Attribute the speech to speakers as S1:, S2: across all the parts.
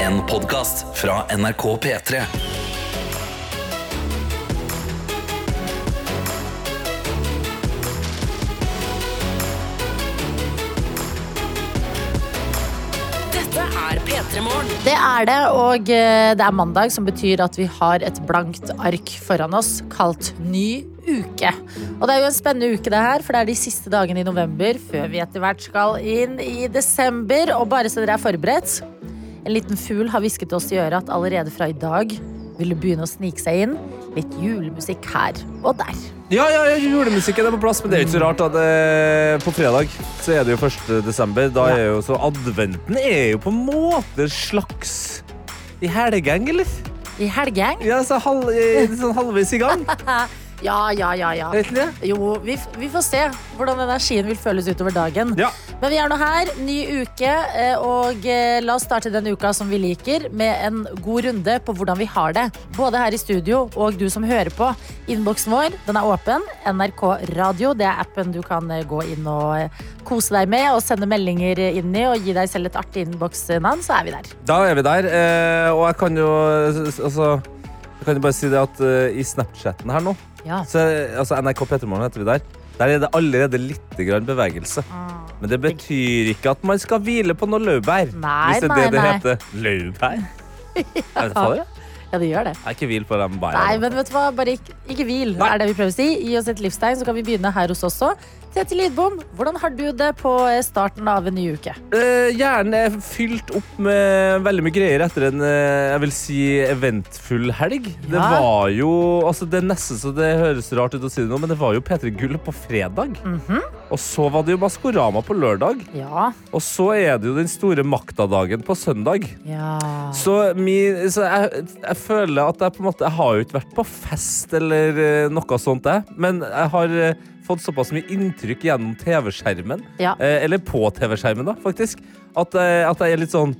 S1: En podcast fra NRK P3
S2: Dette er P3 Morgen.
S3: Det er det, og eh, det er mandag, som betyr at vi har et blankt ark foran oss, kalt ny uke. Og det er jo en spennende uke, det her, for det er de siste dagene i november før vi etter hvert skal inn i desember. Og bare så dere er forberedt, en liten fugl har hvisket oss i øret at allerede fra i dag vil det begynne å snike seg inn litt julemusikk her og der.
S4: Ja, ja, ja, julemusikken er på plass, men det er jo ikke så rart at eh, på fredag så er det jo 1. desember. Da er jo så adventen er jo på en måte en slags i helgeng, eller?
S3: I helgeng?
S4: Ja, så halv, eh, sånn halvveis i gang. Er
S3: Ja, ja, ja, ja.
S4: det ikke det?
S3: Jo, vi, f- vi får se hvordan energien vil føles utover dagen.
S4: Ja.
S3: Men vi er nå her, ny uke, eh, og eh, la oss starte den uka som vi liker, med en god runde på hvordan vi har det. Både her i studio og du som hører på. Innboksen vår den er åpen. NRK Radio det er appen du kan eh, gå inn og eh, kose deg med og sende meldinger eh, inn i, og gi deg selv et artig innboksnavn, så er vi der.
S4: Da er vi der, eh, og jeg kan jo altså, Jeg kan jo bare si det at eh, i Snapchatten her nå,
S3: Ja.
S4: så, altså NRK Petermorgen heter vi der, der er det allerede litt grann bevegelse.
S3: Ah.
S4: Men det betyr ikke at man skal hvile på noe laurbær.
S3: Nei,
S4: hvis det er
S3: nei,
S4: det det
S3: nei.
S4: heter. Laurbær? Er det for det?
S3: Ja, det gjør det.
S4: Jeg er ikke hvil på den
S3: Nei,
S4: bæren.
S3: men vet du hva? Bare ikke, ikke hvil,
S4: Nei.
S3: er det vi prøver å si. Gi oss et livstegn, så kan vi begynne her hos oss også. Tete Lidbom, hvordan har du det på eh, starten av en ny uke?
S4: Eh, Hjernen er fylt opp med veldig mye greier etter en eh, jeg vil si, eventfull helg. Det
S3: Ja.
S4: var jo altså Det er nesten så det høres rart ut å si det nå, men det var jo P3 Gull på fredag.
S3: Mhm.
S4: Og så var det jo Maskorama på lørdag.
S3: Ja.
S4: Og så er det jo den store maktadagen på søndag.
S3: ja.
S4: Så, min, så jeg, jeg føler at jeg på en måte Jeg har jo ikke vært på fest eller eh, noe sånt, jeg. Men jeg har eh, fått såpass mye inntrykk gjennom TV-skjermen.
S3: Ja.
S4: Eh, eller på TV-skjermen, da, faktisk. At, eh, at jeg er litt sånn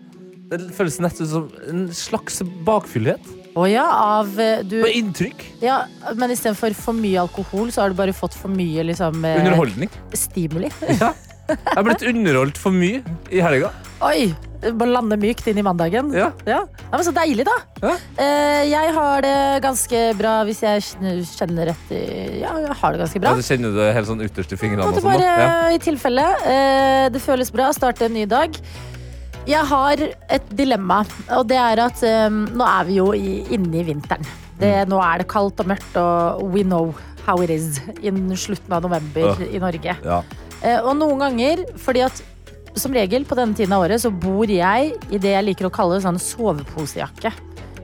S4: Det føles nesten som en slags bakfyllhet.
S3: Å ja, av eh, du
S4: Med inntrykk.
S3: ja, Men istedenfor for mye alkohol, så har du bare fått for mye liksom eh,
S4: Underholdning.
S3: stimuli.
S4: Ja. Jeg har blitt underholdt for mye i helga.
S3: Oi! Bare lande mykt inn i mandagen.
S4: Ja.
S3: Ja, men Så deilig, da.
S4: Ja.
S3: Eh, jeg har det ganske bra hvis jeg kjenner- kjenner rett i Ja, jeg har det ganske bra.
S4: Ja, du kjenner det helt sånn ytterst i fingrene. Og
S3: Måtte
S4: sånn, da.
S3: bare
S4: ja.
S3: i tilfelle. eh, Det føles bra å starte en ny dag. Jeg har et dilemma, og det er at eh, nå er vi jo i, inne i vinteren. Det,
S4: Mm.
S3: Nå er det kaldt og mørkt, og we know how it is innen slutten av november
S4: Ja.
S3: i Norge.
S4: Ja.
S3: Eh, Og noen ganger, fordi at som regel på denne tiden av året så bor jeg i det jeg liker å kalle sånn soveposejakke.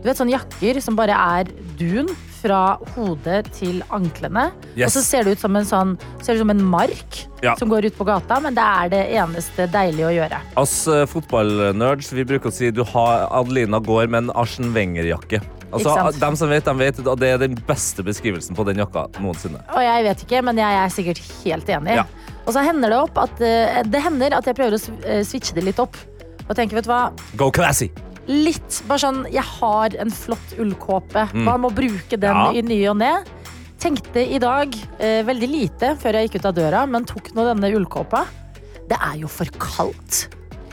S3: Du vet sånne jakker som bare er dun fra hodet til anklene.
S4: Yes.
S3: Og så ser det ut som en, sånn, ser det ut som en mark
S4: Ja.
S3: som går ut på gata, men det er det eneste deilige å gjøre.
S4: Oss eh, fotballnerds vi bruker å si du har Adelina går med en Arsen Wenger-jakke. Altså,
S3: Ikke sant?
S4: dem som vet, dem vet, og Det er den beste beskrivelsen på den jakka noensinne.
S3: Og jeg vet ikke, men jeg er sikkert helt enig.
S4: Ja.
S3: Og så hender det opp at eh, det hender at jeg prøver å sv- eh, switche det litt opp. Og tenker, vet du hva,
S4: Go classy!
S3: litt bare sånn Jeg har en flott ullkåpe. Hva med å bruke den
S4: Mm. Ja.
S3: i ny og ne? Tenkte i dag eh, veldig lite før jeg gikk ut av døra, men tok nå denne ullkåpa. Det er jo for kaldt.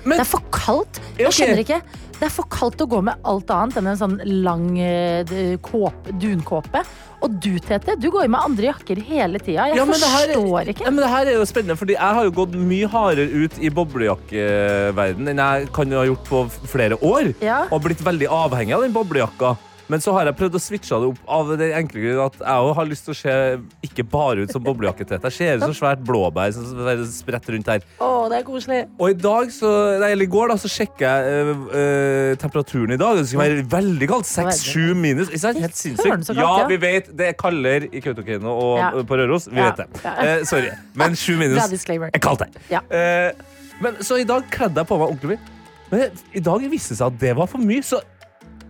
S4: Men-
S3: det er for kaldt. Jeg
S4: Ja, ok.
S3: skjønner ikke. Det er for kaldt å gå med alt annet enn en sånn lang eh, d- kåp, dunkåpe. Og du, Tete, du går jo med andre jakker hele tida. Jeg
S4: Ja, men det her-
S3: forstår
S4: Ja,
S3: ikke.
S4: men det her er jo spennende, fordi Jeg har jo gått mye hardere ut i boblejakkeverden enn jeg kan jo ha gjort på f- flere år.
S3: Ja.
S4: Og blitt veldig avhengig av den boblejakka. Men så har jeg prøvd å switche det opp av den enkle grunn at jeg også har lyst til å se ikke bare ut som boblejakketett. Jeg ser ut som svært blåbær som spretter rundt her.
S3: Å, det er koselig.
S4: Og i dag, så, nei, eller i går da, så sjekket jeg eh, eh, temperaturen i dag. Det skulle være veldig kaldt. 6-7 minus. Ikke sant? Helt
S3: Søren,
S4: sinnssykt.
S3: så kaldt,
S4: Ja,
S3: ja.
S4: vi vet det er kaldere i Kautokeino og
S3: Ja.
S4: eh, på Røros. Vi
S3: Ja.
S4: vet det.
S3: Ja.
S4: Eh, sorry. Men 7 minus
S3: Bra disclaimer.
S4: er kaldt her.
S3: Ja.
S4: Eh, men, så i dag kledde jeg på meg ordentlig mye. Men i dag viste det seg at det var for mye, så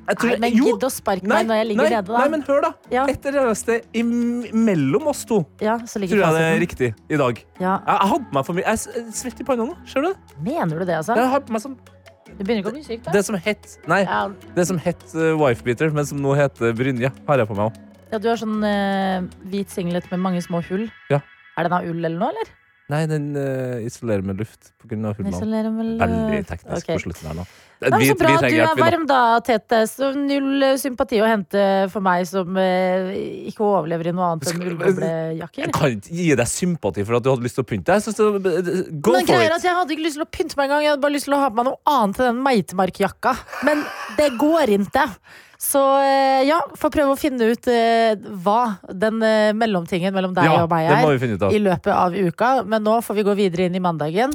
S4: jeg tror
S3: Nei, men
S4: Jo.
S3: gidd å sparke meg når jeg ligger
S4: nei,
S3: nede, da.
S4: Nei, men hør, da.
S3: Ja.
S4: Et eller annet sted im- mellom oss to
S3: ja, så ligger
S4: tror jeg det er
S3: fasiten.
S4: riktig i dag.
S3: Ja.
S4: Jeg, jeg hadde på meg for mye. Jeg s- jeg svetter i panna nå. Ser du det?
S3: Mener du det, altså?
S4: Jeg har på meg sånn
S3: Du begynner ikke å bli syk, da?
S4: Det som het Nei,
S3: ja,
S4: det som het eh, Wifebeater, men som nå heter Brynje, har jeg på meg òg.
S3: ja, du har sånn eh, hvit singlet med mange små hull.
S4: Ja.
S3: Er den av ull eller noe, eller?
S4: Nei, den eh, isolerer med luft pga. hullene.
S3: Isolerer vel eh,
S4: Veldig teknisk
S3: ok.
S4: på slutten her nå. Vi,
S3: Nei, men så bra
S4: vi
S3: at du
S4: trenger
S3: er
S4: hjelp, vi nå.
S3: varm da, Tete. Så null eh, sympati å hente for meg som eh, ikke overlever i noe annet enn
S4: Skal-
S3: ullboblejakker.
S4: Jeg kan ikke gi deg sympati for at du hadde lyst til å pynte deg. Jeg synes det- Go
S3: Men
S4: for
S3: greier
S4: it!
S3: at Jeg hadde ikke lyst til å pynte meg engang. Jeg hadde bare lyst til å ha på meg noe annet enn den meitemarkjakka. Men det går ikke. Så eh, ja, får prøve å finne ut eh, hva den eh, mellomtingen mellom deg
S4: Ja,
S3: og meg
S4: det må vi
S3: er.
S4: finne ut av.
S3: I løpet av uka, men nå får vi gå videre inn i mandagen.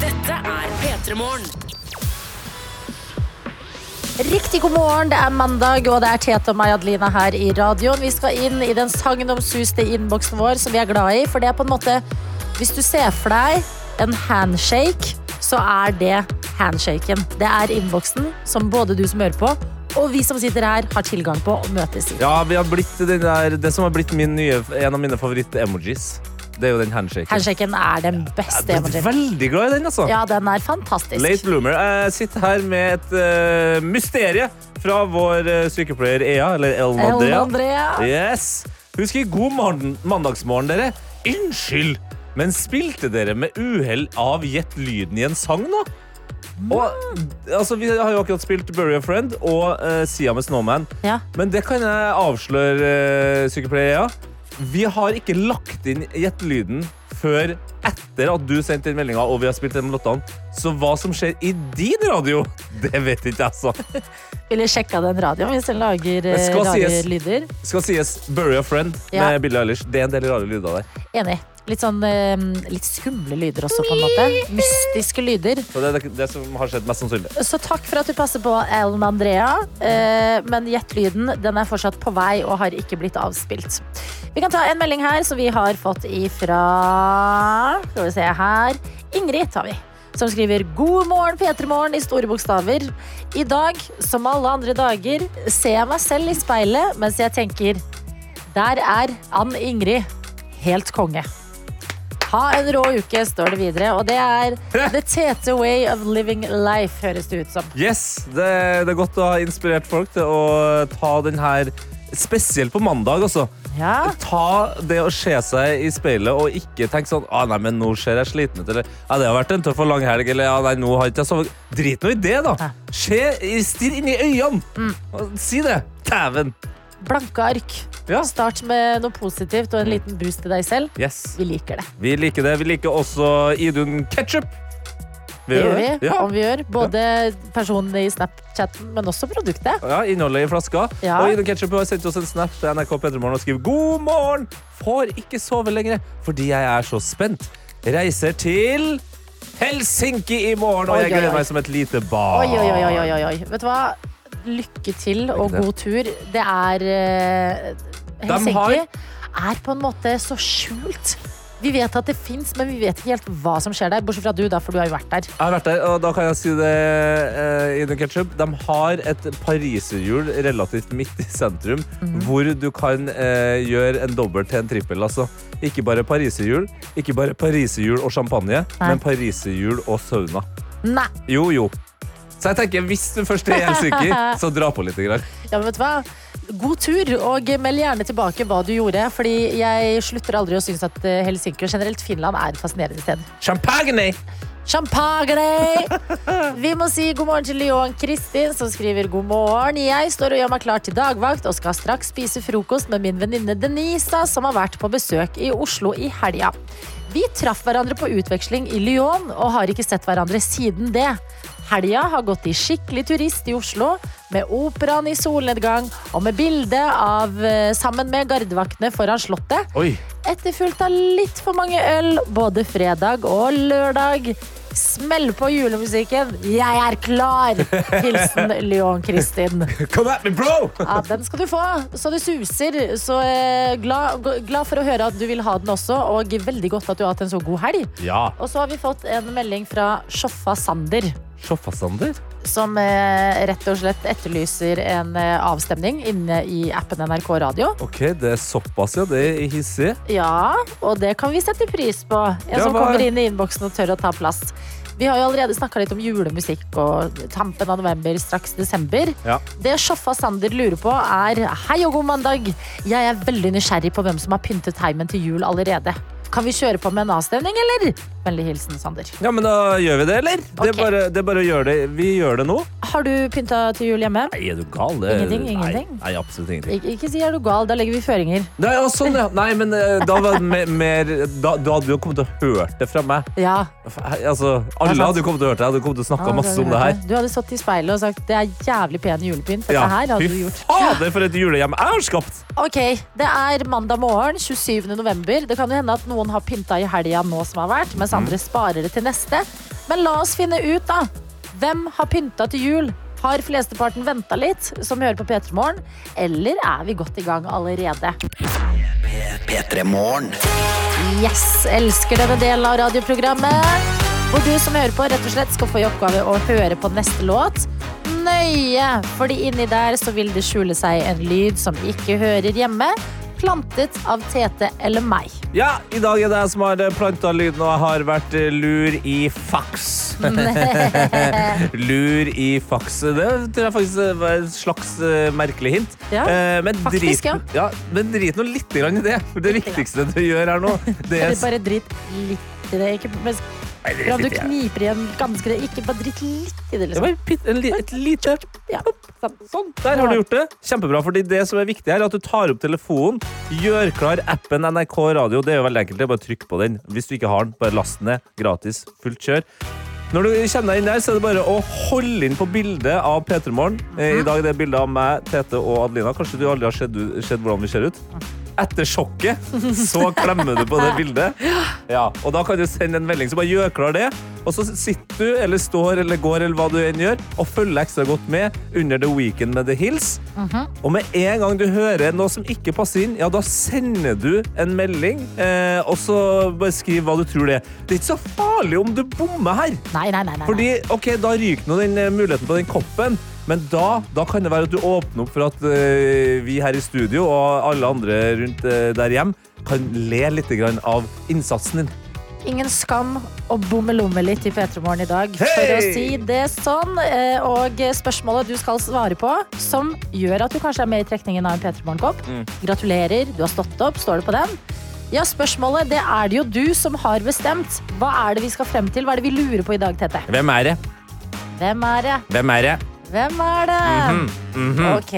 S2: Dette er P3 Morgen.
S3: Riktig god morgen, det er mandag, og det er Tete og meg, Adelina, her i radioen. Vi skal inn i den sagnomsuste innboksen vår som vi er glad i, for det er på en måte Hvis du ser for deg en handshake, så er det handshaken. Det er innboksen som både du som hører på, og vi som sitter her, har tilgang på og møtes i.
S4: Ja, vi har blitt den der, det som har blitt min nye, en av mine favoritt-emojis. Det er jo den handshaken.
S3: Handshaken er den beste
S4: Jeg er
S3: emojien.
S4: veldig glad i den, altså.
S3: Ja, den er
S4: Late
S3: fantastisk.
S4: bloomer. Jeg sitter her med et eh, mysterie fra vår eh, sykepleier Ea, eller Ellen
S3: Ellen
S4: Andrea.
S3: Andrea.
S4: Yes. Husk i god morgen, mandagsmorgen, dere. Unnskyld, men spilte dere med uhell av Gjett lyden i en sang nå? Og, altså, vi har jo akkurat spilt Bury a Friend og eh, Sia med Snowman.
S3: Ja.
S4: Men det kan jeg avsløre, eh, sykepleier Ea. Vi har ikke lagt inn Gjett lyden før etter at du sendte inn meldinga og vi har spilt den låtene. Så hva som skjer i din radio, det vet ikke jeg, så.
S3: Ville sjekka den radioen hvis den lager eh,
S4: skal
S3: rare
S4: sies.
S3: lyder.
S4: Skal sies Bury a Friend
S3: Ja.
S4: med Billie Eilish. Det er en del rare lyder der.
S3: Enig. Litt sånn eh, litt skumle lyder også, på en måte. Mystiske lyder.
S4: Så det er det- det som har skjedd mest sannsynlig.
S3: Så takk for at du passer på, Ellen Andrea. Eh, men gjettlyden den er fortsatt på vei og har ikke blitt avspilt. Vi kan ta en melding her som vi har fått ifra Skal vi se her. Ingrid tar vi. Som skriver 'God morgen, P3morgen' i store bokstaver. I dag, som alle andre dager, ser jeg meg selv i speilet mens jeg tenker 'Der er Ann Ingrid helt konge'. Ha en rå uke, står det videre. Og det er The Tete Way of Living Life, høres det ut som.
S4: Yes, det, det er godt å ha inspirert folk til å ta den her Spesielt på mandag, altså.
S3: Ja.
S4: Ta det å se seg i speilet og ikke tenke sånn ah, nei, men nå ser jeg sliten ut, eller ja, det har vært en tøff og lang helg, eller ja, nei, nå har ikke jeg sovet. Drit nå i det, da.
S3: Ja.
S4: Se, stirr inn i øynene.
S3: Mm.
S4: Og Si det. Dæven.
S3: Blanke ark.
S4: Ja.
S3: Start med noe positivt og en liten boost til deg selv.
S4: Yes.
S3: Vi liker det.
S4: Vi liker det. Vi liker også Idun Ketchup. Vi
S3: Det
S4: gjør
S3: gjør vi.
S4: Ja.
S3: Om vi gjør. Både personene i Snapchatten, men også produktet.
S4: Ja, innholdet i flaska.
S3: Ja.
S4: Og Ida Ketchup har sendt oss en snap til NRK Petremorgen og skriver God morgen! Får ikke sove lenger fordi jeg er så spent. Reiser til Helsinki i morgen, og
S3: Oi,
S4: jeg
S3: oi,
S4: gleder
S3: oi.
S4: meg som et lite
S3: Oi,
S4: barn.
S3: oi, oi, oi, oi, oi. Vet du hva? Lykke til og
S4: det.
S3: god tur. Det er eh, Helsinki
S4: har-
S3: er på en måte så skjult. Vi vet at det fins, men vi vet ikke helt hva som skjer der. Bortsett fra du, da, for du har jo vært der.
S4: Jeg har vært der, og da kan jeg si det, eh, Ida Ketchup. De har et pariserhjul relativt midt i sentrum,
S3: Mhm.
S4: hvor du kan eh, gjøre en dobbel til en trippel. Altså. Ikke bare pariserhjul, ikke bare pariserhjul og champagne,
S3: Nei.
S4: men pariserhjul og sauna.
S3: Nei.
S4: Jo, jo. Så jeg tenker, hvis du først er i Helsinki, så dra på litt. Grann.
S3: Ja, men vet du hva? God tur, og meld gjerne tilbake hva du gjorde. Fordi jeg slutter aldri å synes at eh, Helsinki og generelt Finland er et fascinerende sted.
S4: Champagne!
S3: Champagne! Vi må si god morgen til Leon Kristin, som skriver god morgen. Jeg står og gjør meg klar til dagvakt og skal straks spise frokost med min venninne Denisa, som har vært på besøk i Oslo i helga. Vi traff hverandre på utveksling i Lyon og har ikke sett hverandre siden det. Helga har gått i skikkelig turist i Oslo, med operaen i solnedgang og med bilde av eh, sammen med gardevaktene foran Slottet
S4: Oi.
S3: etterfulgt av litt for mange øl både fredag og lørdag. Smell på julemusikken. Jeg er klar! Hilsen Leon Kristin.
S4: Come at me, bro!
S3: Ja, den skal du få, så det suser. Så eh, glad, glad for å høre at du vil ha den også, og veldig godt at du har hatt en så god helg.
S4: Ja.
S3: Og så har vi fått en melding fra Sjoffa Sander,
S4: Sjåfasander?
S3: som eh, rett og slett etterlyser en eh, avstemning inne i appen NRK Radio.
S4: OK, det er såpass, ja. Det er hissig.
S3: Ja, og det kan vi sette pris på. En
S4: Ja,
S3: som
S4: hva-
S3: kommer inn i innboksen og tør å ta plass. Vi har jo allerede snakka litt om julemusikk og tampen av november, straks desember.
S4: Ja.
S3: Det Sjoffa Sander lurer på, er Hei og god mandag. Jeg er veldig nysgjerrig på hvem som har pyntet heimen til jul allerede. Kan vi kjøre på med en avstemning, eller? Vennlig hilsen Sander.
S4: Ja, men da gjør vi det, eller? Det, er
S3: Ok.
S4: bare, det er bare å gjøre det. Vi gjør det nå.
S3: Har du pynta til jul hjemme?
S4: Nei, er du gal? Det,
S3: Ingenting, ingenting.
S4: Nei, nei, absolutt ingenting.
S3: Ik ikke si er du gal, da legger vi føringer.
S4: Nei, ja, sånn, ja. Nei, men eh, da, var det me- mer, da, da hadde du jo kommet til å hørt det fra meg.
S3: Ja.
S4: Altså, alle
S3: sant.
S4: hadde jo kommet til å hørt det. Jeg hadde kommet til å
S3: Ah,
S4: snakke masse om det her.
S3: Du hadde stått i speilet og sagt det er jævlig pen julepynt. Dette her hadde du
S4: Fy
S3: gjort.
S4: fader, for et julehjem jeg har skapt!
S3: Ok, Det er mandag morgen 27. november. Det kan jo hende at noen har pynta i helga nå som har vært, mens andre sparer det til neste. Men la oss finne ut, da. Hvem har pynta til jul? Har flesteparten venta litt, som vi hører på P3 Morgen? Eller er vi godt i gang allerede?
S1: P3 Morgen.
S3: Yes! Elsker denne delen av radioprogrammet. Hvor du som hører på, rett og slett skal få i oppgave å høre på neste låt nøye. Fordi inni der så vil det skjule seg en lyd som ikke hører hjemme. Plantet av Tete eller meg.
S4: Ja, i dag er det jeg som har eh, planta lyden, og jeg har vært eh, lur i faks. lur i faks. Det tror jeg faktisk eh, var et slags eh, merkelig hint.
S3: Ja,
S4: Eh, men
S3: faktisk,
S4: drit,
S3: ja.
S4: Men drit nå litt grann i det. For det viktigste du gjør her nå, det er
S3: Eller bare drit litt i det. Ikke, men,
S4: Nei, det er
S3: ja, du
S4: litt-
S3: kniper igjen ganske det. Ikke bare drit litt i det,
S4: Det
S3: liksom.
S4: var pitt- en li- et lite
S3: Ja.
S4: Sånn, der har du gjort det. Kjempebra. fordi det som er viktig her, er at du tar opp telefonen, gjør klar appen NRK Radio. Det er jo veldig enkelt. det er Bare trykk på den. Hvis du ikke har den, bare last den ned. Gratis. Fullt kjør. Når du kjenner deg inn der, så er det bare å holde inn på bildet av P3 Morgen. Eh, I dag er det bildet av meg, Tete og Adelina. Kanskje du aldri har sett, sett hvordan vi ser ut? Etter sjokket så klemmer du på det bildet. Ja, og da kan du sende en melding. Så bare gjør klar det. Og så sitter du, eller står, eller går, eller hva du enn gjør, og følger ekstra godt med under The Weekend med The Hills. Og med en gang du hører noe som ikke passer inn, ja, da sender du en melding, eh, og så bare skriv hva du tror det er. Det er ikke så farlig om du bommer her.
S3: Nei, nei, nei. nei, nei.
S4: Fordi, ok, da ryker nå den eh, muligheten på den koppen, men da, da kan det være at du åpner opp for at eh, vi her i studio og alle andre rundt eh, der hjem kan le litt grann av innsatsen din.
S3: Ingen skam å bomme lomme litt i P3 Morgen i dag, for
S4: Hei!
S3: å si det sånn. Eh, Og spørsmålet du skal svare på, som gjør at du kanskje er med i trekningen av en P3 Morgen-kopp. Gratulerer, du har stått opp. Står det på den? Ja, spørsmålet det er det jo du som har bestemt. Hva er det vi skal frem til? Hva er det vi lurer på i dag, Tete?
S4: Hvem er det?
S3: Hvem er det?
S4: Hvem er det?
S3: Hvem er det? Ok.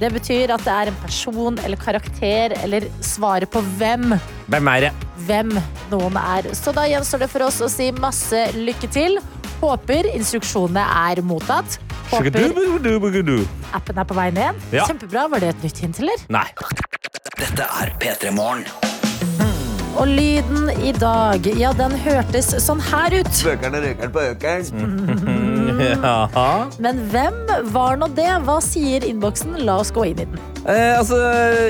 S3: Det betyr at det er en person eller karakter eller svaret på hvem
S4: Hvem er det?
S3: hvem noen er. Så da gjenstår det for oss å si masse lykke til. Håper instruksjonene er mottatt. Håper appen er på vei ned.
S4: Ja.
S3: Kjempebra. Var det et nytt hint, eller?
S4: Nei.
S1: Dette er P3 Morgen.
S3: Og lyden i dag, ja, den hørtes sånn her ut.
S5: Bøkerne røkeren på økeren.
S4: Ja.
S3: Men hvem var nå det? Hva sier innboksen? La oss gå inn i den.
S4: Eh, altså,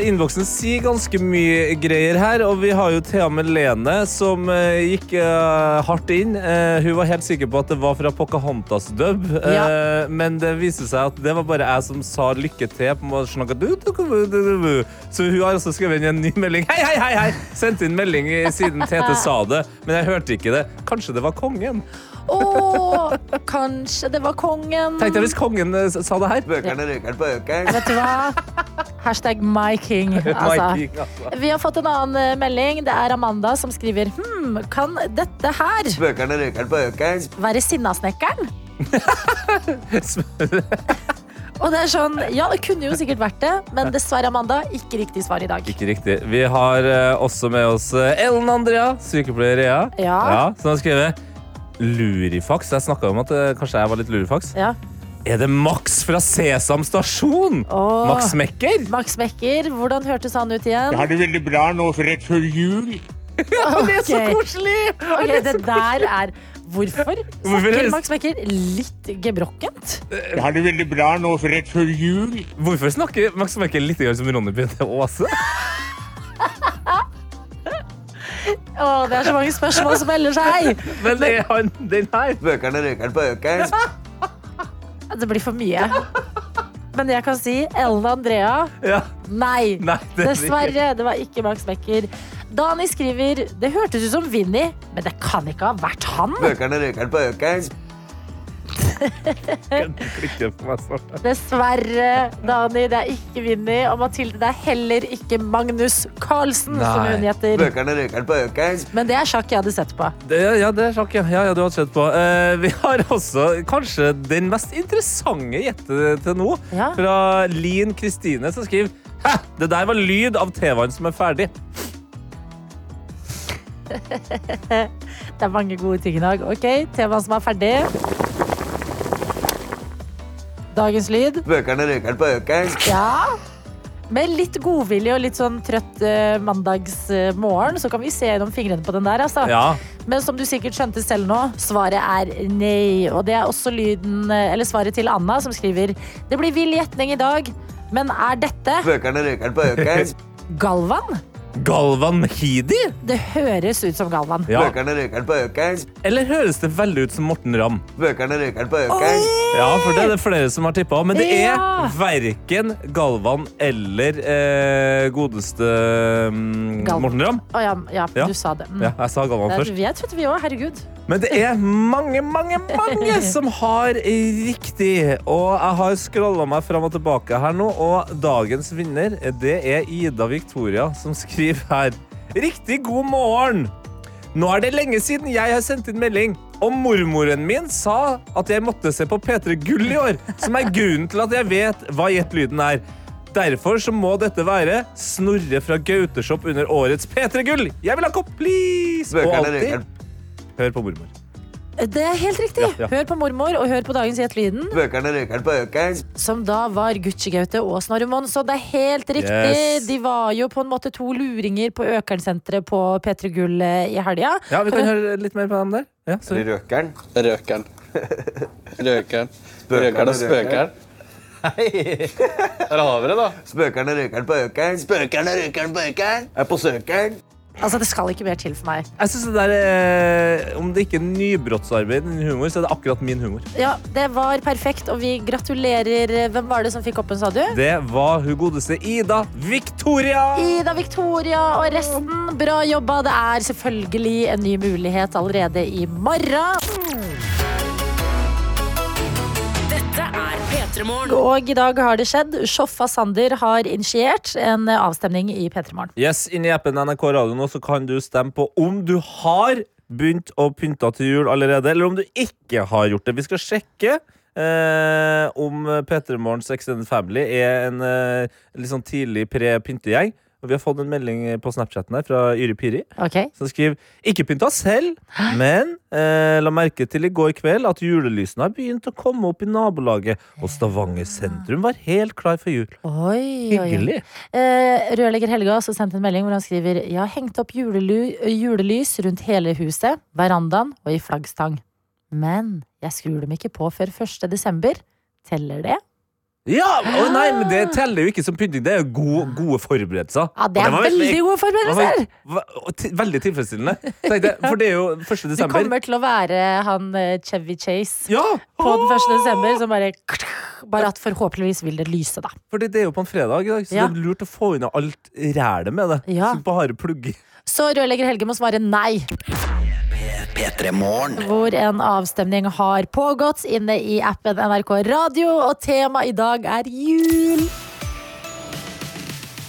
S4: Innboksen sier ganske mye greier her, og vi har jo Thea Melene som eh, gikk eh, hardt inn. Eh, hun var helt sikker på at det var fra Pocahontas dub, eh, men det viste seg at det var bare jeg som sa lykke til. på en måte, sånn at du, du, du, du, du, du. Så hun har også skrevet inn en ny melding. Hei, hei, hei! hei! Sendte inn melding i- siden Tete sa det, men jeg hørte ikke det. Kanskje det var kongen?
S3: Å, kanskje det var kongen.
S4: Tenkte jeg hvis kongen eh, sa det her.
S5: Bøkerne røkeren på økeren.
S3: Vet du hva? Hashtag my king. Altså.
S4: Viking, altså.
S3: Vi har fått en annen eh, melding. Det er Amanda som skriver Hm, kan dette her
S5: Bøkerne røkeren på økeren.
S3: være Sinnasnekkeren? Og det er sånn, ja, det kunne jo sikkert vært det, men dessverre, Amanda, ikke riktig svar i dag.
S4: Ikke riktig. Vi har eh, også med oss eh, Ellen Andrea, sykepleier i EA.
S3: Ja.
S4: som har skrevet lurifaks. Jeg snakka om at eh, kanskje jeg var litt lurifaks.
S3: Ja.
S4: Er det Max fra Sesam stasjon?
S3: Åh.
S4: Max Mekker?
S3: Max Mekker, hvordan hørtes han ut igjen?
S6: har det veldig bra nå for rett før jul.
S4: Det er så
S3: Ok.
S4: koselig!
S3: Ok, det der er Hvorfor
S4: høres-
S3: snakker Max Mekker litt gebrokkent?
S6: Jeg har det veldig bra nå for rett før jul.
S4: Hvorfor snakker Max Mekker litt grann som Ronny Brede Aase?
S3: Å, det er så mange spørsmål som melder seg!
S4: Men det er han den her.
S5: Bøkerne røkeren på økeren.
S3: Det blir for mye. Men jeg kan si Ellen Andrea.
S4: Ja.
S3: Nei,
S4: Nei, det er det
S3: dessverre. Det var ikke Max Mekker. Dani skriver det hørtes ut som Vinni, men det kan ikke ha vært han.
S5: Bøkerne røkeren på økeren.
S4: Kan du klikke på meg snart?
S3: Dessverre, Dani. Det er ikke Vinni. Og Mathilde, det er heller ikke Magnus Carlsen, som
S4: Nei.
S3: hun heter.
S5: Bøkene røkeren på økeren.
S3: Men det er sjakk jeg hadde sett på.
S4: Det, ja, det er sjakk, ja. ja, ja du har sett på. Eh, vi har også kanskje den mest interessante gjettet til nå,
S3: Ja.
S4: fra Lin Kristine, som skriver Hæ! Det der var lyd av TV-en som er ferdig.
S3: Det er mange gode ting i dag. Ok, temaet som er ferdig. Dagens lyd.
S5: Bøkene røkeren på økeren.
S3: Ja. Med litt godvilje og litt sånn trøtt eh, mandagsmorgen, så kan vi se gjennom fingrene på den der, altså.
S4: Ja.
S3: Men som du sikkert skjønte selv nå, svaret er nei. Og det er også lyden, eh, eller svaret til Anna, som skriver Det blir vill gjetning i dag, men er dette
S5: Bøkene røkeren på økeren.
S3: Galvan?
S4: Galvan Mehidi?
S3: Det høres ut som Galvan.
S4: Ja.
S5: Bøkene røkeren på økeren.
S4: Eller høres det veldig ut som Morten Ramm?
S5: Bøkene røkeren på økeren.
S4: Ja, for det er det flere som har tippa. Men det er
S3: Ja.
S4: verken Galvan eller eh, godeste mm,
S3: Galvan.
S4: Morten Ramm.
S3: Å ja, ja,
S4: Ja.
S3: du sa det. Mm.
S4: Ja, jeg sa Galvan
S3: Nei,
S4: først.
S3: Jeg trodde vi òg. Herregud.
S4: Men det er mange, mange, mange som har riktig. Og jeg har scrolla meg fram og tilbake her nå, og dagens vinner det er Ida Victoria som skriver her. Riktig god morgen! Nå er det lenge siden jeg har sendt inn melding, og mormoren min sa at jeg måtte se på P3 Gull i år, som er grunnen til at jeg vet hva Gjett lyden er. Derfor så må dette være Snorre fra Gauteshop under årets P3 Gull. Jeg vil ha kopp, please! Og
S5: Bøkene
S4: alltid
S5: røkeren.
S4: hør på mormor.
S3: Det er helt riktig.
S4: Ja, ja.
S3: Hør på mormor, og hør på dagens Gjett lyden,
S5: Bøkene røkeren på økeren.
S3: som da var Gucci Gaute og Snorre Mons. Og det er helt riktig.
S4: Yes.
S3: De var jo på en måte to luringer på Økernsenteret på P3 Gull eh, i helga.
S4: Ja, vi kan høre litt mer på dem der. Ja, sorry.
S5: Røkeren.
S7: Røkeren. Røkeren. Røkeren og spøkeren. Hei! Der har vi det, da.
S5: Spøkerne røkeren på økeren. Spøkerne røkeren på økeren. Er på søkeren.
S3: Altså, det skal ikke mer til for meg.
S4: Jeg synes det der, eh, Om det ikke er nybrottsarbeid innen humor, så er det akkurat min humor.
S3: Ja, det var perfekt, og vi gratulerer. Hvem var det som fikk opp en, sa du?
S4: Det var hun godeste Ida Victoria!
S3: Ida, Victoria og resten. Bra jobba. Det er selvfølgelig en ny mulighet allerede i morgen.
S2: Dette er P3 Morgen.
S3: Og i dag har det skjedd. Sjoffa Sander har initiert en avstemning i P3 Morgen.
S4: Yes, Inni appen NRK Radio nå så kan du stemme på om du har begynt å pynte til jul allerede, eller om du ikke har gjort det. Vi skal sjekke. Eh, om P3 Morgens Extended Family er en eh, litt sånn tidlig pre-pyntegjeng. Og Vi har fått en melding på Snapchatten her fra Yri Piri.
S3: Ok?
S4: som skriver Ikke pynta selv, men eh, la merke til i går kveld at julelysene har begynt å komme opp i nabolaget, og Stavanger sentrum var helt klar for jul.
S3: Oi, oi, oi.
S4: Hyggelig.
S3: Eh, rørlegger Helge har også sendt en melding hvor han skriver Jeg har hengt opp julelu- julelys rundt hele huset, verandaen og i flaggstang. Men jeg skrur dem ikke på før 1. desember. Teller det?
S4: Ja! Å nei, men det teller jo ikke som pynting. Det er jo gode, gode forberedelser.
S3: Ja, det
S4: Og
S3: er
S4: var
S3: veldig gode forberedelser!
S4: var- var- og ti- Veldig tilfredsstillende. Tenkte jeg, for det er jo 1.
S3: Du
S4: desember.
S3: kommer til å være han eh, Chevy Chase
S4: Ja!
S3: på den 1. desember som bare Bare at forhåpentligvis vil det lyse, da.
S4: Fordi det er jo på en fredag i dag, så
S3: Ja.
S4: det er lurt å få unna alt rælet med det.
S3: Ja.
S4: Så bare plugge.
S3: Så rørlegger Helge må svare nei.
S1: P3 Morgen.
S3: hvor en avstemning har pågått inne i appen NRK Radio, og tema i dag er jul.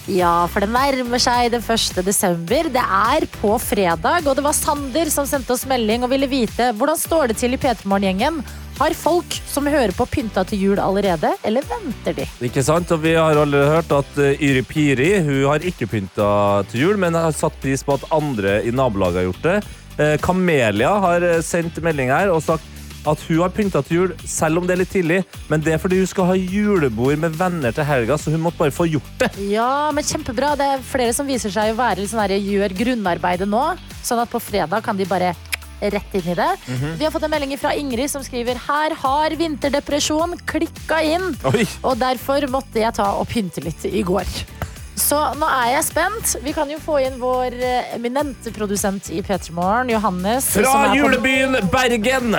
S3: Ja, for det nærmer seg den 1. desember. Det er på fredag, og det var Sander som sendte oss melding og ville vite hvordan står det til i P3 Morgen-gjengen. Har folk som hører på pynta til jul allerede, eller venter de?
S4: Ikke sant, og Vi har allerede hørt at eh, Yri Piri hun har ikke pynta til jul, men har satt pris på at andre i nabolaget har gjort det. Eh, Kamelia har eh, sendt melding her og sagt at hun har pynta til jul, selv om det er litt tidlig. Men det er fordi hun skal ha julebord med venner til helga, så hun måtte bare få gjort det.
S3: Ja, men kjempebra. Det er flere som viser seg å være litt sånn her, gjør grunnarbeidet nå. Sånn at på fredag kan de bare rett inn i det.
S4: Mhm.
S3: Vi har fått en melding fra Ingrid som skriver Her har vinterdepresjon klikka inn,
S4: Oi.
S3: og derfor måtte jeg ta og pynte litt i går. Så nå er jeg spent. Vi kan jo få inn vår eh, eminente produsent i P3 Morgen, Johannes. som er
S4: Fra
S3: på-
S4: julebyen Bergen!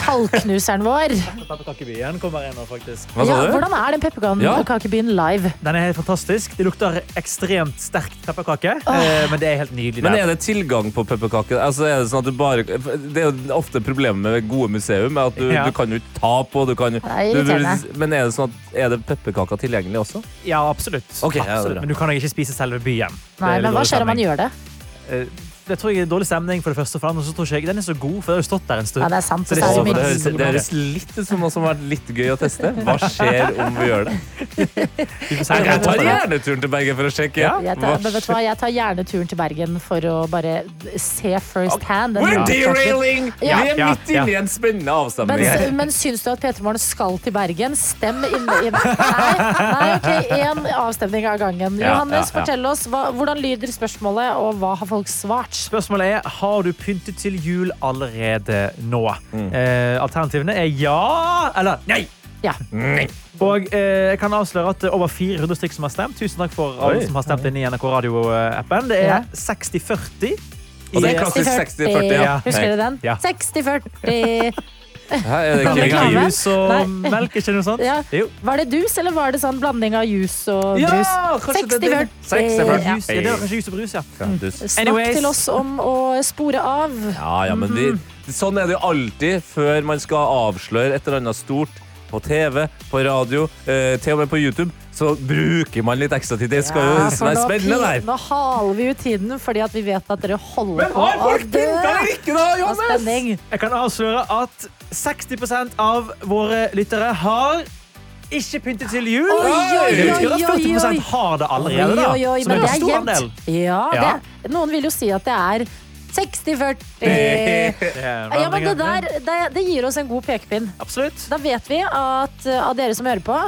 S3: Tallknuseren vår.
S8: Pepperkakebyen kommer her nå, faktisk.
S4: Hva
S3: Ja,
S4: sa du?
S3: hvordan er den
S4: Ja.
S3: pepperkakebyen live?
S8: Den er helt fantastisk. Det lukter ekstremt sterkt pepperkake, eh, men det er helt nydelig.
S4: Men
S8: der.
S4: er det tilgang på pepperkaker? Altså, er det, sånn at du bare, det er jo ofte problemet med gode museum, er at du,
S8: Ja.
S4: du kan jo ikke ta på du kan, jo-
S3: er
S4: du,
S3: irriterende.
S4: Men er det sånn at er det pepperkaker tilgjengelig også?
S8: Ja, absolutt.
S4: Ok, ja, det er
S8: absolutt.
S4: bra.
S8: Men du kan jo ikke spise selve byen.
S3: Nei, men hva skjer om man gjør det?
S8: Det tror jeg er dårlig stemning, for det første, og for det andre så tror ikke jeg den er så god, for den har jo stått der en stund.
S3: Ja, det er
S8: Så
S3: sant, så
S8: ikke
S3: er
S4: Å,
S8: så
S4: for
S3: mye
S4: det,
S8: veldig
S4: høres, det høres
S8: problematisk.
S4: litt ut som noe som har vært litt gøy å teste. Hva skjer om vi gjør det?
S8: Vi får se
S4: Jeg
S8: hva
S4: tar
S8: det er.
S4: gjerne turen til Bergen for å sjekke.
S8: Ja.
S3: Jeg tar, men vet du hva, jeg tar gjerne turen til Bergen for å bare se first hand. den
S4: We're
S3: rare kaken.
S4: derailing!
S3: Ja.
S4: Vi er
S8: Ja,
S4: midt inne i en spennende
S3: Men,
S4: avstemning. her.
S3: men syns du at P3 Morgen skal til Bergen? Stem inn, inn. Nei, nei, ok, én avstemning av gangen.
S4: Ja,
S3: Johannes,
S4: ja, ja.
S3: fortell oss, hva, hvordan lyder spørsmålet, og hva har folk svart?
S8: Spørsmålet er har du pyntet til jul allerede nå.
S4: Mm.
S8: Eh, alternativene er ja eller nei.
S3: Ja.
S8: Og eh, jeg kan avsløre at det er over 400 stykker som har stemt. Tusen takk for alle som har stemt inn i NRK Radio-appen. Det
S3: Ja.
S8: er 60-40.
S4: Og
S8: i-
S4: det er
S8: eh,
S4: klassisk 60-40, ja.
S3: Husker du den?
S8: Ja.
S3: 60-40.
S4: Her er det
S8: Kan
S4: ikke
S8: det
S3: Reklame?
S8: ikke jus og
S3: Nei.
S8: melk, ikke noe sånt?
S3: Ja.
S8: Jo.
S3: Var det dus, eller var det sånn blanding av jus og
S8: Ja,
S3: brus?
S8: kanskje det er det.
S3: 60-40. Ja.
S8: Jus, ja, det var kanskje jus og brus, ja.
S3: Snakk
S8: Anyways.
S3: til oss om å spore av.
S4: Ja, ja, men
S3: Mhm.
S4: vi, sånn er det jo alltid før man skal avsløre et eller annet stort på TV, på radio, eh, til og med på YouTube. Så bruker man litt ekstra tid. Det skal jo
S3: Ja, for
S4: være
S3: nå,
S4: Eh, spennende
S3: pi-
S4: der.
S3: nå haler vi ut tiden fordi at vi vet at dere holder på å dø
S4: ikke, da,
S3: av spenning.
S8: Jeg kan avsløre at 60 av våre lyttere har ikke pyntet til jul.
S3: Oi, oi,
S8: Det betyr at
S3: oi, oi,
S8: 40
S3: oi.
S8: har det allerede. da.
S3: Oi, oi, oi,
S8: Så
S3: men
S8: det er en
S3: det er
S8: stor andel.
S3: jevnt. Ja,
S8: Ja.
S3: det, noen vil jo si at det er 60-40. Ja, men det der det, det gir oss en god pekepinn.
S8: Absolutt.
S3: Da vet vi at uh, av dere som hører på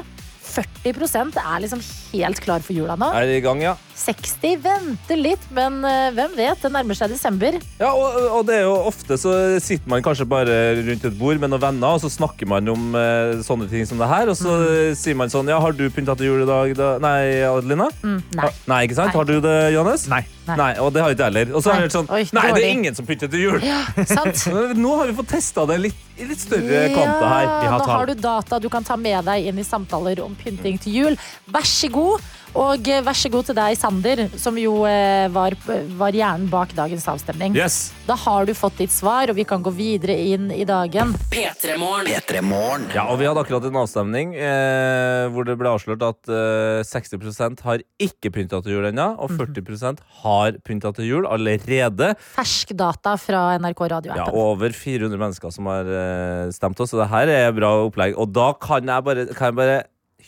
S3: 40 er liksom helt klar for jula nå.
S4: Er det i gang, ja?
S3: 60 venter litt, men uh, hvem vet? Det nærmer seg desember.
S4: Ja, og, og det er jo ofte så sitter man kanskje bare rundt et bord med noen venner, og så snakker man om eh, sånne ting som det her, og så
S3: Mm.
S4: eh, sier man sånn, ja, har du pynta til jul i dag, da? Nei, Adelina?
S3: Mm, Nei.
S4: Nei, ikke sant?
S3: Nei.
S4: Har du det, Johannes?
S8: Nei.
S4: Nei. og det har ikke jeg heller. Og så har
S3: Nei.
S4: jeg hørt sånn,
S3: Oi,
S4: nei, det
S3: dårlig.
S4: er ingen som pynter til jul.
S3: Ja, sant?
S4: Nå har vi fått testa det litt, i litt større kanter her.
S3: Ja,
S8: Vi har
S3: nå
S8: tall.
S3: har du data du kan ta med deg inn i samtaler om pynting til jul. Vær så god. Og eh, vær så god til deg, Sander, som jo eh, var, var hjernen bak dagens avstemning.
S4: Yes.
S3: Da har du fått ditt svar, og vi kan gå videre inn i dagen.
S2: P3morgen.
S1: P3morgen.
S4: Ja, og vi hadde akkurat en avstemning eh, hvor det ble avslørt at eh, 60 har ikke pynta til jul ennå, og
S3: Mhm.
S4: 40 har pynta til jul allerede.
S3: Fersk data fra NRK
S4: Ja,
S3: radioappen.
S4: over 400 mennesker som har eh, stemt oss, så det her er bra opplegg. Og da kan jeg bare, kan jeg bare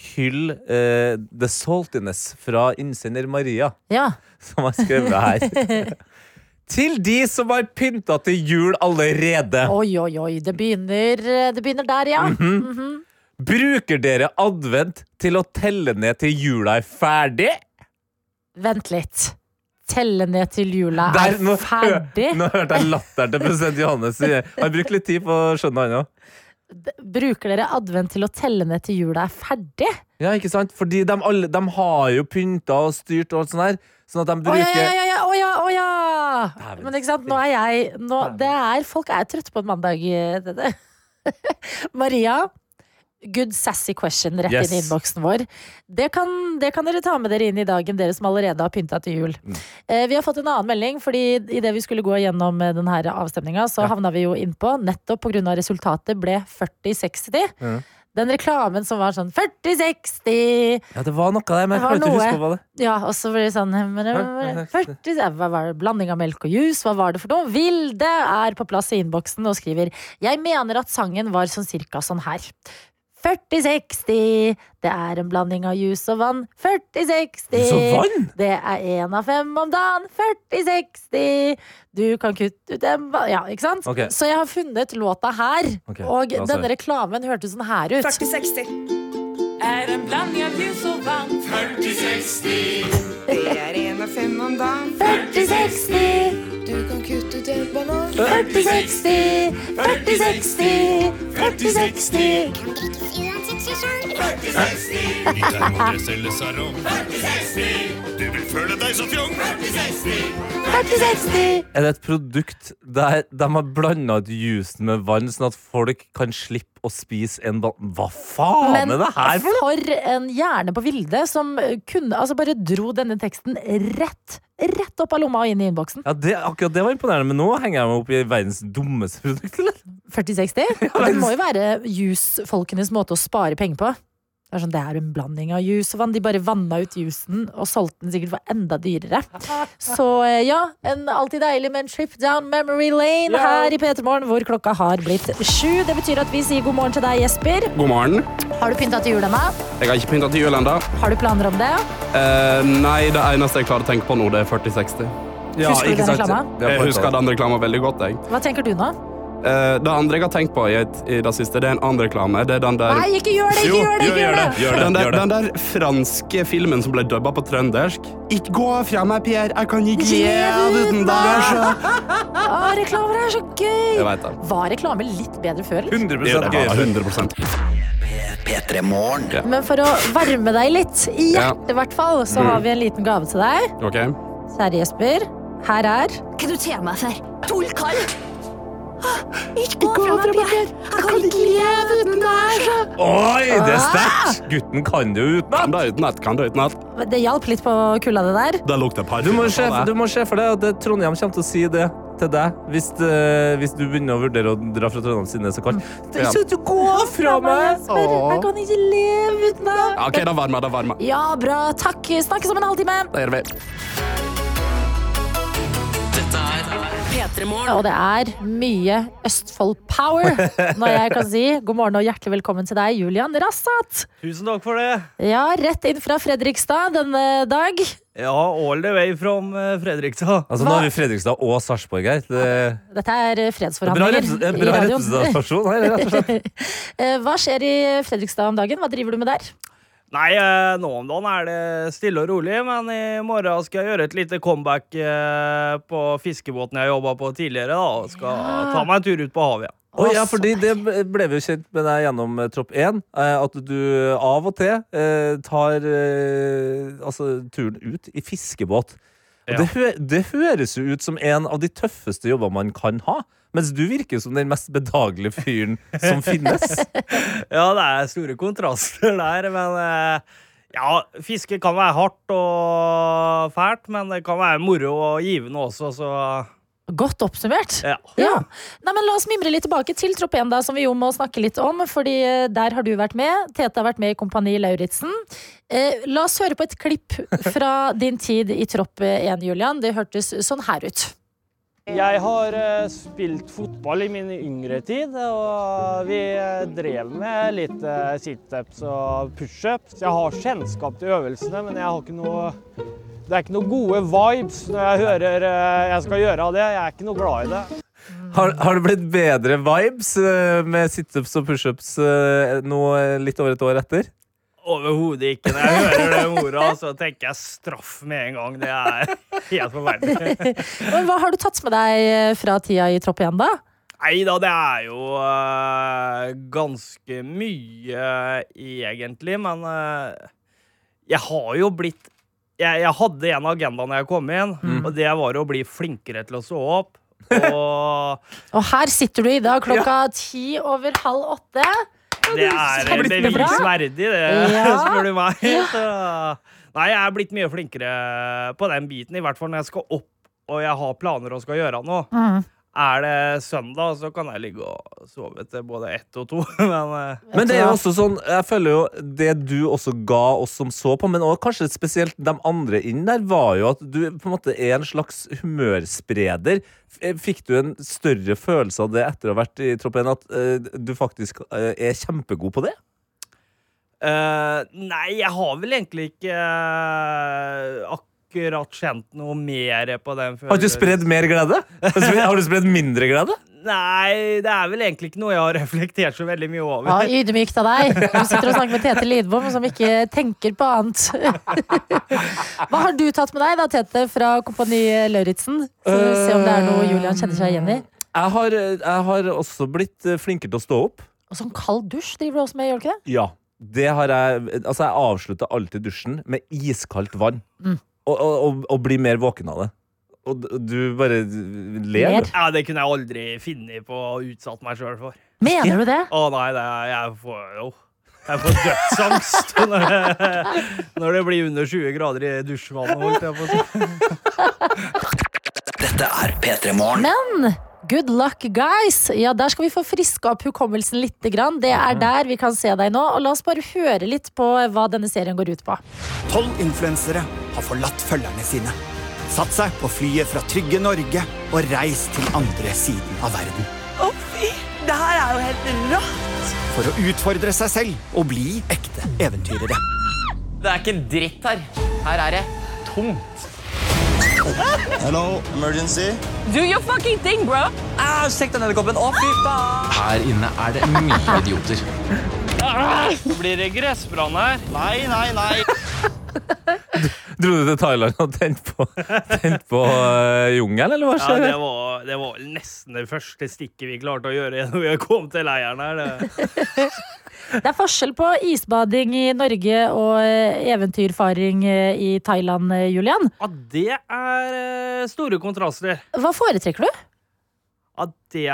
S4: hylle eh, The Saltiness fra innsender Maria,
S3: Ja.
S4: som har skrevet her. til de som har pynta til jul allerede.
S3: Oi, oi, oi. Det begynner, eh, det begynner der, ja.
S4: Mhm. Bruker dere advent til å telle ned til jula er ferdig?
S3: Vent litt. Telle ned til jula
S4: Der,
S3: er
S4: nå,
S3: ferdig.
S4: nå hørte jeg latteren til president Johannes. Han brukte litt tid på å skjønne han òg.
S3: Bruker dere advent til å telle ned til jula er ferdig?
S4: Ja, ikke sant? Fordi de, alle, de har jo pynta og styrt og alt sånt her. Sånn at de
S3: Å ja,
S4: bruker
S3: ja, ja, ja, å ja, å ja. Men ikke sant, nå er jeg nå, det er, Folk er trøtte på en mandag. eh, Det, det. Maria, good sassy question rett
S4: Yes.
S3: inn i innboksen vår. Det kan, det kan dere ta med dere inn i dagen, dere som allerede har pynta til jul. Eh, vi har fått en annen melding, fordi idet vi skulle gå gjennom eh, den her avstemninga, så havna vi jo innpå, nettopp pga. resultatet ble 40-60. Den reklamen som var sånn 40-60!
S4: Ja, det var noe der, men jeg
S3: Det var
S4: kan ikke
S3: noe.
S4: huske hva det
S3: Ja, og så blir det sånn men, men, 40, Hva var det? Blanding av melk og juice, hva var det for noe? Vilde er på plass i innboksen og skriver Jeg mener at sangen var sånn cirka sånn her. 40-60, det er en blanding av juice og vann. 40-60,
S4: Så vann?
S3: det er én av fem om dagen. 40-60, du kan kutte ut en ba- Ja, ikke sant?
S4: Ok.
S3: Så jeg har funnet låta her,
S4: Ok,
S3: og
S4: la oss høre.
S3: denne reklamen hørtes sånn her ut.
S2: 4060. Er en blanding av jus og vann. 4060. Det er en av fem om dagen.
S3: 40-60
S2: Du kan kutte ut en banan.
S3: 40-60, 40-60, 40-60
S9: Kan drikkes uansett sesong.
S4: Er det et produkt der de har blanda ut juicen med vann, sånn at folk kan slippe å spise en ball? Hva faen
S3: Men
S4: er det her for noe?!
S3: for en hjerne på Vilde som kunne Altså bare dro denne teksten rett, rett opp av lomma og inn i innboksen.
S4: Ja, det, akkurat det var imponerende, men nå henger jeg meg opp i verdens dummeste produkt, eller?
S3: 40-60? Og Det må jo være jusfolkenes måte å spare penger på. Det er, sånn, det er en blanding av jus og vann. De bare vanna ut jusen og solgte den sikkert for enda dyrere. Så eh, ja, en alltid deilig med en trip down memory lane her i P3 Morgen, hvor klokka har blitt sju. Det betyr at vi sier god morgen til deg, Jesper.
S9: God morgen.
S3: Har du pynta til jul ennå?
S9: Jeg har ikke pynta til jul ennå.
S3: Har du planer om det?
S9: Eh, nei, det eneste jeg klarer å tenke på nå, det er 4060.
S3: Husker du
S4: ikke
S3: den
S4: sant?
S3: reklama?
S4: Ja,
S9: Jeg husker den reklamen veldig godt. jeg.
S3: Hva tenker du nå?
S9: Eh, det andre jeg har tenkt på i, et, i det siste, det er en annen reklame. Det er den der,
S3: Nei, ikke gjør det! Ikke
S4: Jo,
S3: gjør det! Ikke gjør det.
S4: gjør det,
S9: den der,
S4: gjør det.
S9: den der franske filmen som ble dubba på trøndersk. Ikke gå fra meg, Pierre. Jeg kan ikke leve uten deg. så-
S3: Å, reklamer er så
S9: Jeg
S3: gøy!
S9: vet det.
S3: Var reklame litt bedre før? eller?
S4: 100
S9: Det var
S4: gøyere.
S9: 100
S10: P3 Morgen.
S3: Men for å varme deg litt, i
S9: Ja.
S3: hjertet i hvert fall,
S11: Mm.
S3: så har vi en liten gave til deg.
S9: Ok.
S3: Kjære Jesper, her er
S11: Hva du tar meg for? Tullkall? Ikke gå fra meg, Pierre. Jeg kan ikke leve uten deg.
S4: Oi, det er sterkt! Gutten kan det jo
S9: Kan
S4: utenat!
S9: det utenat, kan det utenat.
S3: Det hjalp litt på kulla, det der.
S9: Det lukter parfyme.
S4: Du må, se,
S9: på
S4: du
S9: deg.
S4: må se for deg at det- Trondheim kommer til å si det til deg hvis, eh, hvis du begynner å vurdere å dra fra Trondheim siden det er så kaldt. Det er ikke at du går fra meg!
S3: Jesper, Mm. jeg kan ikke leve uten deg.
S9: Ja, OK, det varmer. Det varmer.
S3: Ja, bra. Takk. Snakkes om en halvtime.
S9: Det gjør vi.
S3: Og det er mye Østfold power når jeg kan si god morgen og hjertelig velkommen til deg, Julian Rassat.
S12: Tusen takk for det.
S3: Ja, rett inn fra Fredrikstad denne dag.
S12: Ja, all the way from eh, Fredrikstad.
S4: Altså, nå har vi Fredrikstad og Sarpsborg her. Det
S3: Dette er eh,
S4: det er bra,
S3: fredsforhandlinger
S12: eh,
S4: repres- en
S3: i
S4: bra
S3: radioen.
S4: representasjon her, rett og slett.
S3: Eh, Hva skjer i Fredrikstad om dagen? Hva driver du med der?
S12: Nei, eh, nå om dagen er det stille og rolig, men i morgen skal jeg gjøre et lite comeback eh, på fiskebåten jeg jobba på tidligere, da, og skal ta meg en tur ut på havet. ja.
S4: Å, ja,
S3: Å, så
S4: fordi det ble vi jo kjent med deg gjennom eh, Tropp 1. eh, At du av og til eh, tar eh, altså, turen ut i fiskebåt. Og
S12: Ja.
S4: det, hø det høres jo ut som en av de tøffeste jobber man kan ha. Mens du virker som den mest bedagelige fyren som finnes.
S12: Ja, det er store kontraster der, men eh, ja, fiske kan være hardt og fælt, men det kan være moro og givende også, så
S3: Godt oppsummert.
S12: ja.
S3: Ja. Nei, men la oss mimre litt tilbake til Tropp 1, da, som vi jo må snakke litt om. fordi eh, der har du vært med. Tete har vært med i Kompani Lauritzen. Eh, la oss høre på et klipp fra din tid i Tropp 1, Julian. Det hørtes sånn her ut.
S12: Jeg har eh, spilt fotball i min yngre tid, og vi eh, drev med litt eh, situps og pushups. Jeg har kjennskap til øvelsene, men jeg har ikke noe det er ikke noe gode vibes når jeg hører eh, jeg skal gjøre av det. Jeg er ikke noe glad i det.
S4: Har, har det blitt bedre vibes eh, med situps og pushups eh, nå eh, litt over et år etter?
S12: Overhodet ikke. Når jeg hører det ordet, så tenker jeg straff med en gang. Det er helt forferdelig.
S3: Men Hva har du tatt med deg eh, fra tida i Tropp 1, da?
S12: Nei da, det er jo eh, ganske mye, egentlig, men eh, jeg har jo blitt jeg, jeg hadde en agenda når jeg kom inn, og det var å bli flinkere til å stå opp. Og
S3: Og her sitter du i dag klokka ti over halv åtte.
S12: det er
S3: kjempebra.
S12: bevisverdig, det,
S3: Ja.
S12: spør du meg. Så, nei, jeg er blitt mye flinkere på den biten, i hvert fall når jeg skal opp og jeg har planer og skal gjøre noe.
S3: Mhm.
S12: Er det søndag, så kan jeg ligge og sove til både ett og to, men eh,
S4: Men det er jo også sånn, jeg føler jo det du også ga oss som så på, men også kanskje spesielt de andre inn der, var jo at du på en måte er en slags humørspreder. F- Fikk du en større følelse av det etter å ha vært i Tropp 1, at eh, du faktisk eh, er kjempegod på det?
S12: Eh, nei, jeg har vel egentlig ikke eh, akkurat kjent noe mer på den følelsen.
S4: Har du spredd mer glede? Har du spredd mindre glede?
S12: Nei, det er vel egentlig ikke noe jeg har reflektert så veldig mye over.
S3: Ja, Ydmykt av deg. Du sitter og snakker med Tete Lidbom, som ikke tenker på annet. Hva har du tatt med deg, da, Tete, fra Kompani Lauritzen? Så vi Se om det er noe Julian kjenner seg igjen i.
S4: Jeg har, jeg har også blitt eh, flinkere til å stå opp.
S3: Og sånn kald dusj driver du også med, gjør du ikke det?
S4: Ja. Det har jeg Altså, jeg avslutter alltid dusjen med iskaldt vann.
S3: Mm.
S4: Og, og, og, og blir mer våken av det. Og d- du bare ler. du.
S12: Ja, det kunne jeg aldri finne på å utsette meg sjøl for.
S3: Mener du det?
S12: Å nei, det er, jeg får jo Jeg får dødsangst når det, når det blir under 20 grader i dusjvannet, holdt jeg på å si.
S13: Dette er P3 Morgen.
S3: Men good luck, guys! Ja, Der skal vi få friska opp hukommelsen litt. Grann. Det er der vi kan se deg nå. Og la oss bare høre litt på hva denne serien går ut på.
S14: Tolv influensere har forlatt følgerne sine, satt seg på flyet fra trygge Norge og reist til andre siden av verden
S15: Å, fy! Det her er jo helt rått!
S14: for å utfordre seg selv og bli ekte eventyrere.
S16: Det er ikke en dritt her. Her er det tomt.
S1: Hello, emergency.
S16: Do your fucking thing, bro. Au, sjekk den edderkoppen. Å, fy faen.
S1: Her inne er det mye idioter.
S12: Blir det gressbrann her? Nei, nei, nei.
S4: Dro du til Thailand og tente på, tent på eh, jungelen, eller hva
S12: Ja,
S4: skjer?
S12: det var, det var nesten det første stikket vi klarte å gjøre når vi kom til leiren her. Det.
S3: Det er forskjell på isbading i Norge og eh, eventyrfaring eh, i Thailand, eh, Julian.
S12: Ja, det er eh, store kontraster.
S3: Hva foretrekker du?
S12: Ja, det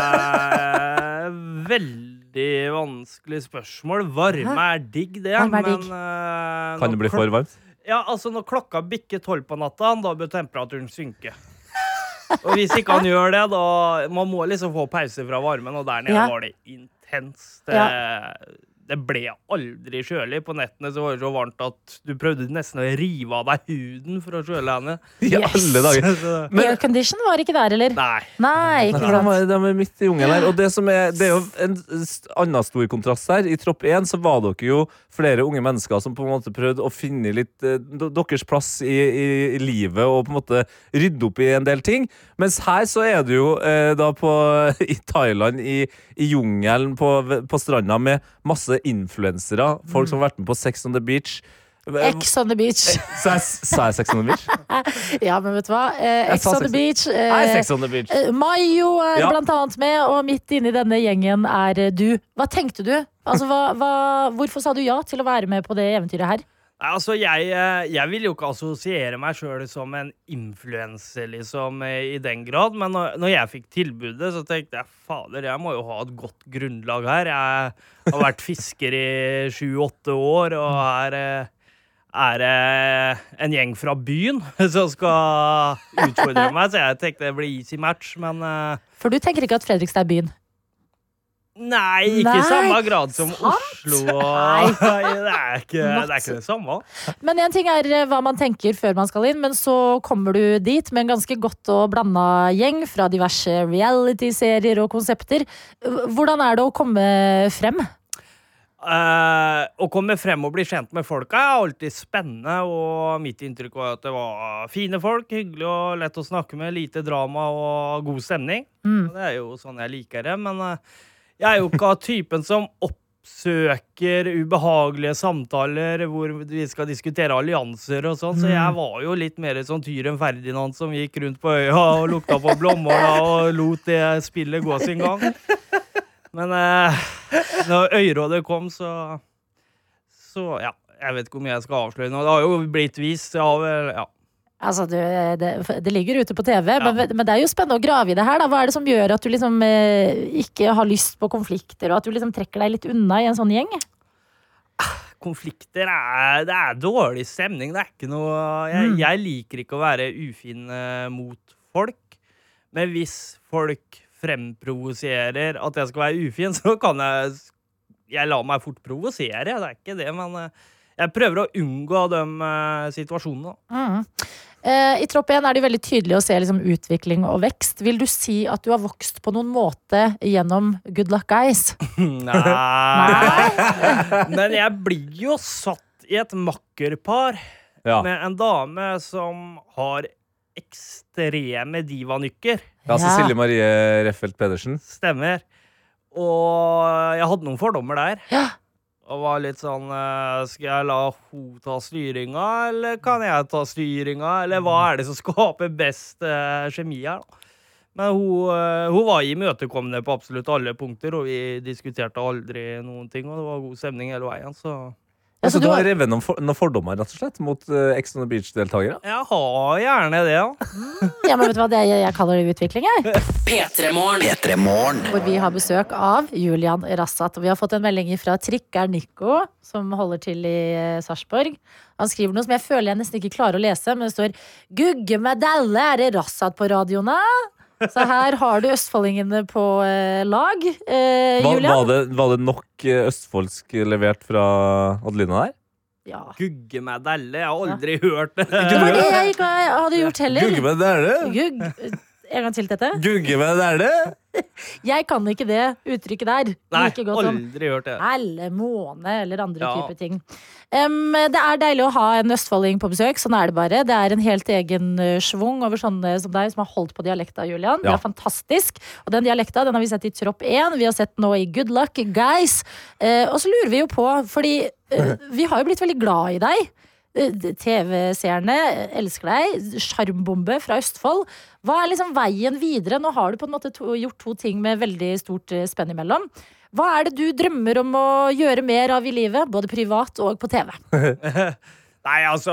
S12: er veldig vanskelig spørsmål. Varme er digg, det.
S4: Varme er digg.
S12: Men, eh,
S4: Kan det
S12: når
S4: bli for
S12: klok-
S4: varmt?
S12: Ja, altså Når klokka bikker tolv på natta, da bør temperaturen synke. Og hvis ikke han gjør det, da Man må liksom få pause fra varmen, og der nede
S17: Ja.
S12: var det intenst. Det, det ble aldri kjølig. På nettene så var det så varmt at du prøvde nesten å rive av deg huden for å kjøle henne.
S4: I alle dager. Men-
S3: Aircondition var ikke der, eller?
S12: Nei.
S3: ikke
S4: Nei,
S3: sant?
S4: de, er, de er midt i jungelen her. Og det, som er, det er jo en st- annen stor kontrast her. I Tropp 1 så var dere jo flere unge mennesker som på en måte prøvde å finne litt eh, d- deres plass i, i, i livet og på en måte rydde opp i en del ting. Mens her så er du jo eh, da på, i Thailand, i, i jungelen, på, på stranda med masse influensere. Folk som har vært med på Sex on the Beach. eh,
S3: Ex on the beach.
S4: Sa jeg, sa jeg Sex on the Beach?
S3: Ja, men vet du hva? Eh,
S4: Jeg
S3: Ex
S4: sa
S3: on the
S4: sex-
S3: beach. eh,
S4: Nei, Sex on the Beach.
S3: eh, Mayo er
S4: Ja.
S3: blant annet med, og midt inne i denne gjengen er eh, du. Hva tenkte du? Altså, hva, hva, hvorfor sa du ja til å være med på det eventyret her?
S12: Nei, altså, jeg, eh, jeg vil jo ikke assosiere meg sjøl som en influenser, liksom, eh, i den grad. Men når, når jeg fikk tilbudet, så tenkte jeg fader, jeg må jo ha et godt grunnlag her. Jeg har vært fisker i sju-åtte år, og her eh, er det en gjeng fra byen som skal utfordre meg. Så jeg tenkte det blir easy match, men eh,
S3: For du tenker ikke at Fredrikstad er byen?
S12: Nei, ikke i
S3: Nei,
S12: samme grad som
S3: sant?
S12: Oslo.
S3: Nei.
S12: Det er ikke det, er ikke det samme.
S3: Men en ting er eh, hva man tenker før man skal inn, men så kommer du dit med en ganske godt og blanda gjeng fra diverse reality-serier og konsepter. Hvordan er det å komme frem?
S12: Eh, å komme frem og bli kjent med folka er alltid spennende, og mitt inntrykk var at det var fine folk, hyggelig og lett å snakke med, lite drama og god stemning.
S17: Mm.
S12: Og Det er jo sånn jeg liker det, men eh, jeg er jo ikke av typen som oppsøker ubehagelige samtaler hvor vi skal diskutere allianser og sånn, så jeg var jo litt mer sånn tyren Ferdinand som gikk rundt på øya og lukta på blommåla og lot det spillet gå sin gang. Men eh, når øyrådet kom, så Så ja. Jeg vet ikke hvor mye jeg skal avsløre nå. Det har jo blitt vist. Jeg har vel Ja.
S3: Altså, du, eh, det, det ligger ute på TV, men, men det er jo spennende å grave i det her. Da. Hva er det som gjør at du liksom eh, ikke har lyst på konflikter, og at du liksom trekker deg litt unna i en sånn gjeng?
S12: konflikter er, det er dårlig stemning. Det er ikke noe Jeg, jeg liker ikke å være ufin eh, mot folk, men hvis folk fremprovoserer at jeg skal være ufin, så kan jeg Jeg lar meg fort provosere, det er ikke det, men eh, jeg prøver å unngå de eh, situasjonene. da.
S3: Mm. Eh, I Tropp 1 er det jo veldig tydelig å se liksom, utvikling og vekst. Vil du si at du har vokst på noen måte gjennom Good Luck Guys?
S12: Nei. Men jeg blir jo satt i et makkerpar
S4: Ja.
S12: med en dame som har ekstreme divanykker.
S4: Ja, Cecilie Marie Reffelt Pedersen.
S12: Stemmer. Og jeg hadde noen fordommer der. Og var litt sånn eh, Skal jeg la hun ta styringa, eller kan jeg ta styringa? Eller hva er det som skaper best eh, kjemi her, da? Men hun, eh, hun var imøtekommende på absolutt alle punkter, og vi diskuterte aldri noen ting. Og det var god stemning hele veien, så
S4: Altså, du har revet noen, for, noen fordommer rett og slett mot eh, Ex on the Beach-deltakere?
S12: jeg har gjerne det, ja.
S3: Ja, men vet du hva det jeg, jeg kaller det utvikling, jeg?
S2: P3-morgen. P3-morgen.
S3: Hvor vi har besøk av Julian Rassat. Og vi har fått en melding fra Trikker Nico, som holder til i eh, Sarpsborg. Han skriver noe som jeg føler jeg nesten ikke klarer å lese, men det står 'Gugge med dalle, er det Rassat på radioen, da?' Så her har du østfoldingene på eh, lag. Eh,
S4: Var,
S3: Julian?
S4: var, det, var det nok eh, østfoldsk levert fra Adelina der?
S12: Gugge meg delle. Jeg har aldri hørt det.
S3: Det var det jeg ikke hadde gjort heller.
S4: Gugge med dæle?
S3: Gugg... En gang til, Tete.
S4: Gugge med dæle?
S3: Jeg kan ikke det uttrykket der.
S12: Nei,
S3: like godt sånn. som-
S12: aldri hørt det.
S3: Elle, måne eller andre
S12: Ja.
S3: typer ting. Em, det er deilig å ha en østfolding på besøk. Sånn er det bare. Det er en helt egen eh, schwung over sånne som deg, som har holdt på dialekta, Julian. Det
S18: Ja.
S3: er fantastisk. Og den dialekta den har vi sett i Tropp 1, vi har sett nå i Good Luck Guys. Eh, og så lurer vi jo på, fordi eh, vi har jo blitt veldig glad i deg. Eh, TV-seerne eh, elsker deg. Sjarmbombe fra Østfold. Hva er liksom veien videre? Nå har du på en måte to, gjort to ting med veldig stort eh, spenn imellom. Hva er det du drømmer om å gjøre mer av i livet, både privat og på TV?
S12: Nei, altså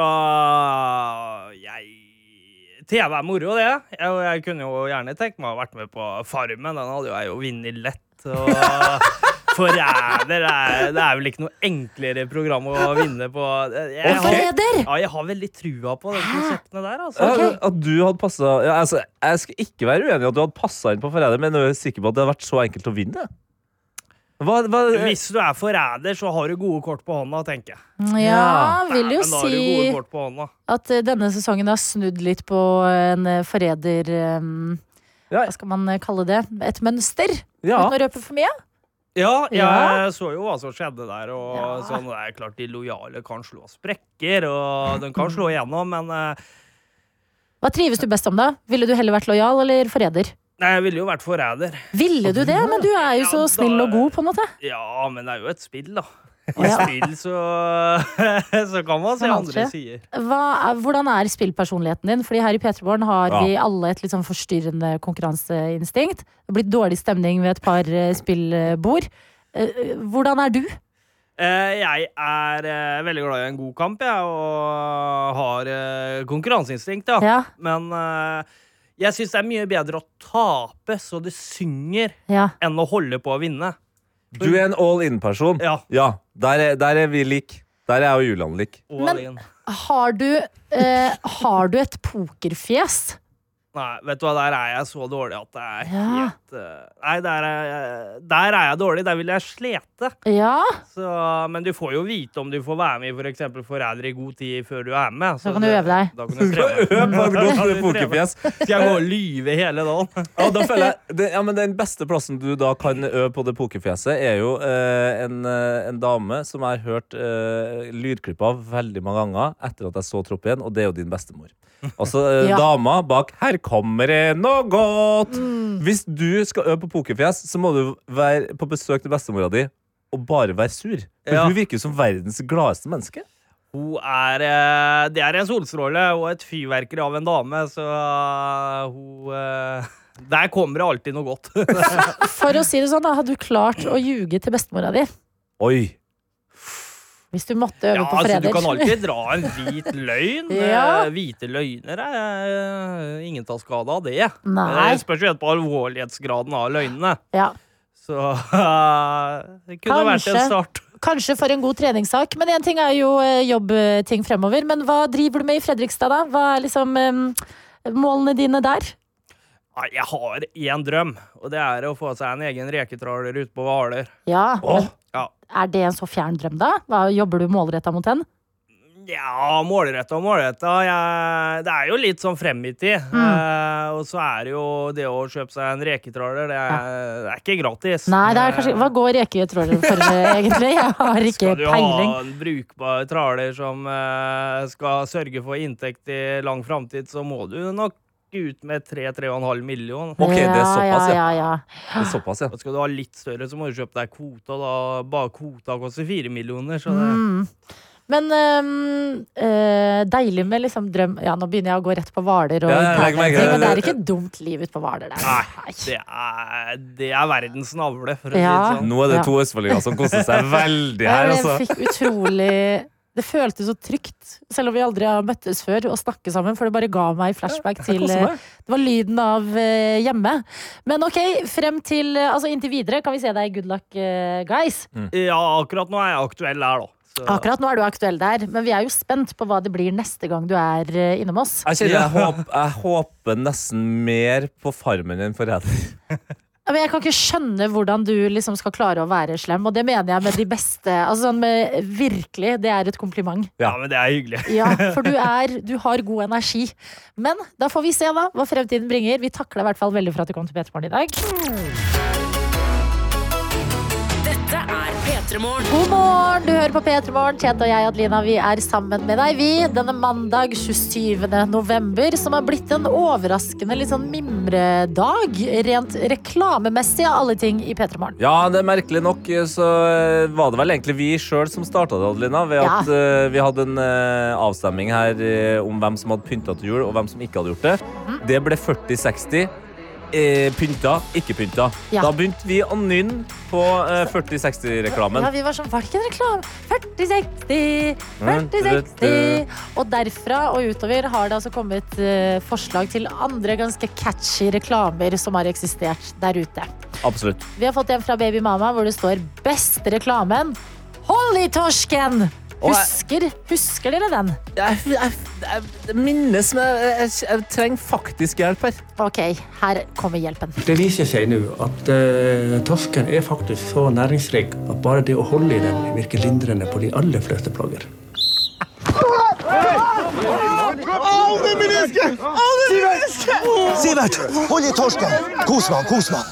S12: Jeg TV er moro, det. Jeg, og jeg kunne jo gjerne tenkt meg å ha vært med på Farmen. Den hadde jo jeg jo vunnet lett. Og Forræder det er, det er vel ikke noe enklere program å vinne på. Jeg, jeg,
S3: Forræder?
S12: Ja, jeg har veldig trua på de konseptene der, altså.
S4: Ja, At du hadde passa ja, altså, Jeg skal ikke være uenig i at du hadde passa inn på Forræder, men jeg er sikker på at det hadde vært så enkelt å vinne. Hva, hva,
S12: Hvis du er forræder, så har du gode kort på hånda, tenker jeg.
S3: Ja, vil jo
S12: Dæven, da har du
S3: si-
S12: gode kort på hånda.
S3: At eh, denne sesongen har snudd litt på en eh, forræder eh, Hva skal man eh, kalle det? Et mønster?
S12: Ja.
S3: Uten å røpe for mye?
S12: Ja, jeg
S3: Ja.
S12: så jo hva som skjedde der. Og sånn, det er klart De lojale kan slå sprekker, og de kan slå igjennom, men eh,
S3: Hva trives du best om, da? Ville du heller vært lojal eller forræder?
S12: nei, jeg ville jo vært forræder.
S3: Ville du det? Men du er jo så snill og god, på en måte.
S12: Ja, men det er jo et spill, da. I
S3: Ja.
S12: spill så, så kan man se
S3: Kan alt skje.
S12: andre sider.
S3: Hva er, hvordan er spillpersonligheten din? Fordi her i P3morgen har
S12: Ja.
S3: vi alle et litt sånn forstyrrende konkurranseinstinkt. Det har blitt dårlig stemning ved et par eh, spillbord. Eh, Hvordan er du?
S12: Eh, jeg er eh, veldig glad i en god kamp, jeg, og har eh, konkurranseinstinkt, ja.
S3: Ja.
S12: Men eh, jeg syns det er mye bedre å tape så det synger,
S3: Ja.
S12: enn å holde på å vinne.
S4: Du er en all in-person.
S12: Ja.
S4: der, er, der er vi lik. Der er jeg og Julian lik.
S3: Men- Har du, eh, har du et pokerfjes?
S12: Nei, vet du hva, der er jeg så dårlig at det er
S3: Ja.
S12: helt eh, Nei, der er, jeg- der er jeg dårlig. Der vil jeg slete.
S3: Ja.
S12: Så, men du får jo vite om du får være med i for eksempel Forræder i god tid før du er med.
S3: Da kan du øve deg.
S12: Da kan du
S4: Øv
S12: trene.
S4: på et
S12: Da kan du
S4: godt
S12: trene.
S4: pokerfjes.
S12: Skal jeg gå og lyve hele dagen?
S4: Ja, da føler jeg, det, ja, men Den beste plassen du da kan øve på det pokerfjeset, er jo eh, en, eh, en dame som jeg har hørt eh, lydklipp av veldig mange ganger etter at jeg så Tropp igjen, og det er jo din bestemor. Altså eh,
S19: Ja.
S4: dama bak 'Her kommer det noe godt'.
S3: Mm.
S4: Hvis du skal øve på pokerfjes, så må du være på besøk til bestemora di og bare være sur. For
S12: Ja.
S4: hun virker jo som verdens gladeste menneske.
S12: Hun er, eh, det er en solstråle og et fyrverkeri av en dame, så eh, hun eh, Der kommer det alltid noe godt.
S3: For å si det sånn, da, hadde du klart å ljuge til bestemora di
S4: Oi.
S3: hvis du måtte øve
S12: Ja,
S3: på
S12: altså,
S3: forræder?
S12: du kan alltid dra en hvit løgn.
S3: Ja.
S12: Eh, Hvite løgner er eh, Ingen tar skade av det.
S3: Nei.
S12: Det spørs jo helt på alvorlighetsgraden av løgnene.
S3: Ja.
S12: Så eh, det kunne vært en start.
S3: Kanskje for en god treningssak, men én ting er jo eh, jobbting fremover. Men hva driver du med i Fredrikstad, da? Hva er liksom eh, målene dine der?
S12: Nei, Jeg har én drøm, og det er å få seg en egen reketraler ute på Hvaler.
S3: Ja, men
S12: Ja.
S3: Er det en så fjern drøm, da? Hva, jobber du målretta mot den?
S12: Ja, målretta og målretta. Jeg- Det er jo litt sånn frem i tid.
S3: Mm.
S12: Eh, og så er det jo det å kjøpe seg en reketraler, det er, det er ikke gratis.
S3: Nei, det er kanskje, hva går reketrålere for, eh, egentlig? Jeg har ikke
S12: Skal du
S3: peiling.
S12: ha en brukbar traler som eh, skal sørge for inntekt i lang framtid, så må du nok ut med 3-3,5 million.
S3: ja. ja,
S4: Det er såpass, ja.
S12: Og skal du ha litt større, så må du kjøpe deg kvota. Da. Bare kvota koster 4 millioner, så
S3: ja.
S12: det
S3: Mm. Men øhm, øh, deilig med liksom drøm Ja, nå begynner jeg å gå rett på Hvaler og
S20: Ja, ja, legg meg ikke.
S3: internetting, og det er ikke dumt liv ute på Hvaler der.
S20: Nei, det er, det er verdens navle, for å si
S3: Ja.
S20: det sånn.
S4: Nå er det
S3: Ja.
S4: to østfoldinger som koser seg veldig her,
S3: Jeg
S4: altså.
S3: fikk utrolig Det føltes så trygt, selv om vi aldri har møttes før og snakket sammen, for det bare ga meg flashback
S21: jeg
S3: til
S21: koser
S3: eh,
S21: meg.
S3: Det var lyden av eh, hjemme. Men ok, frem til eh, Altså inntil videre kan vi se deg i Good Luck eh, Guys.
S12: sånn.
S20: Ja, akkurat nå er jeg aktuell her, da. Så-
S3: Akkurat nå er du aktuell der, men vi er jo spent på hva det blir neste gang du er eh, innom oss.
S4: Jeg, kjenner, jeg, håper, jeg håper nesten mer på Farmen enn Forræder.
S3: Ja, Men jeg kan ikke skjønne hvordan du liksom skal klare å være slem, og det mener jeg med de beste. Altså sånn med virkelig, det er et kompliment.
S20: Ja, men det er hyggelig.
S3: Ja, for du er Du har god energi. Men da får vi se, da, hva fremtiden bringer. Vi takla i hvert fall veldig for at du kom til P3morgen i dag.
S1: Dette er P3 Morgen.
S3: God morgen! Du hører på P3 Morgen. Tjente og jeg, Adelina, vi er sammen med deg, vi. Denne mandag 27. november, som har blitt en overraskende litt sånn mimredag. Rent reklamemessig av alle ting i P3 Morgen.
S4: Ja, det er merkelig nok så eh, var det vel egentlig vi sjøl som starta det, Adelina. Ved
S3: Ja.
S4: at eh, vi hadde en eh, avstemning her eh, om hvem som hadde pynta til jul, og hvem som ikke hadde gjort det.
S3: Mm.
S4: Det ble 40-60. Eh, pynta, ikke pynta.
S3: Ja.
S4: Da begynte vi å nynne på eh, 40-60-reklamen.
S3: Ja, vi var sånn, var det ikke en reklame? 40-60, 40-60. Og derfra og utover har det altså kommet eh, forslag til andre ganske catchy reklamer som har eksistert der ute.
S4: Absolutt.
S3: Vi har fått en fra Baby Mama hvor det står 'Beste reklamen'. Hold i torsken!
S4: Og jeg-
S3: Husker, husker dere den?
S4: Jeg, minnes, men jeg, trenger faktisk hjelp her.
S3: Ok, her kommer hjelpen.
S22: Det viser seg nå at eh, torsken er faktisk så næringsrik at bare det å holde i den virker lindrende på de aller fleste plager.
S21: Au, det er menisken! Au, det er menisken!
S23: Sivert, hold i torsken! Kos meg, kos meg!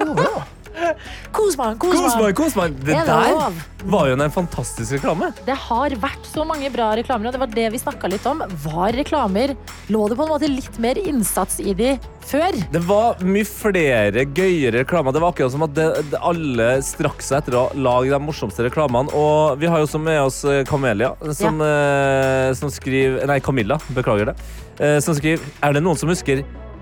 S3: Kos meg, kos meg.
S4: Kos meg, kos meg! Det
S3: Er det
S4: der
S3: lov?
S4: var jo en fantastisk reklame.
S3: Det har vært så mange bra reklamer, og det var det vi snakka litt om. Var reklamer Lå det på en måte litt mer innsats i de før?
S4: Det var mye flere gøyere reklamer. Det var akkurat som at det, det, alle strakk seg etter å lage de morsomste reklamene. Og vi har jo også med oss eh, Camelia, som, eh, som skriver Nei, Camilla, beklager det. Eh, som skriver Er det noen som husker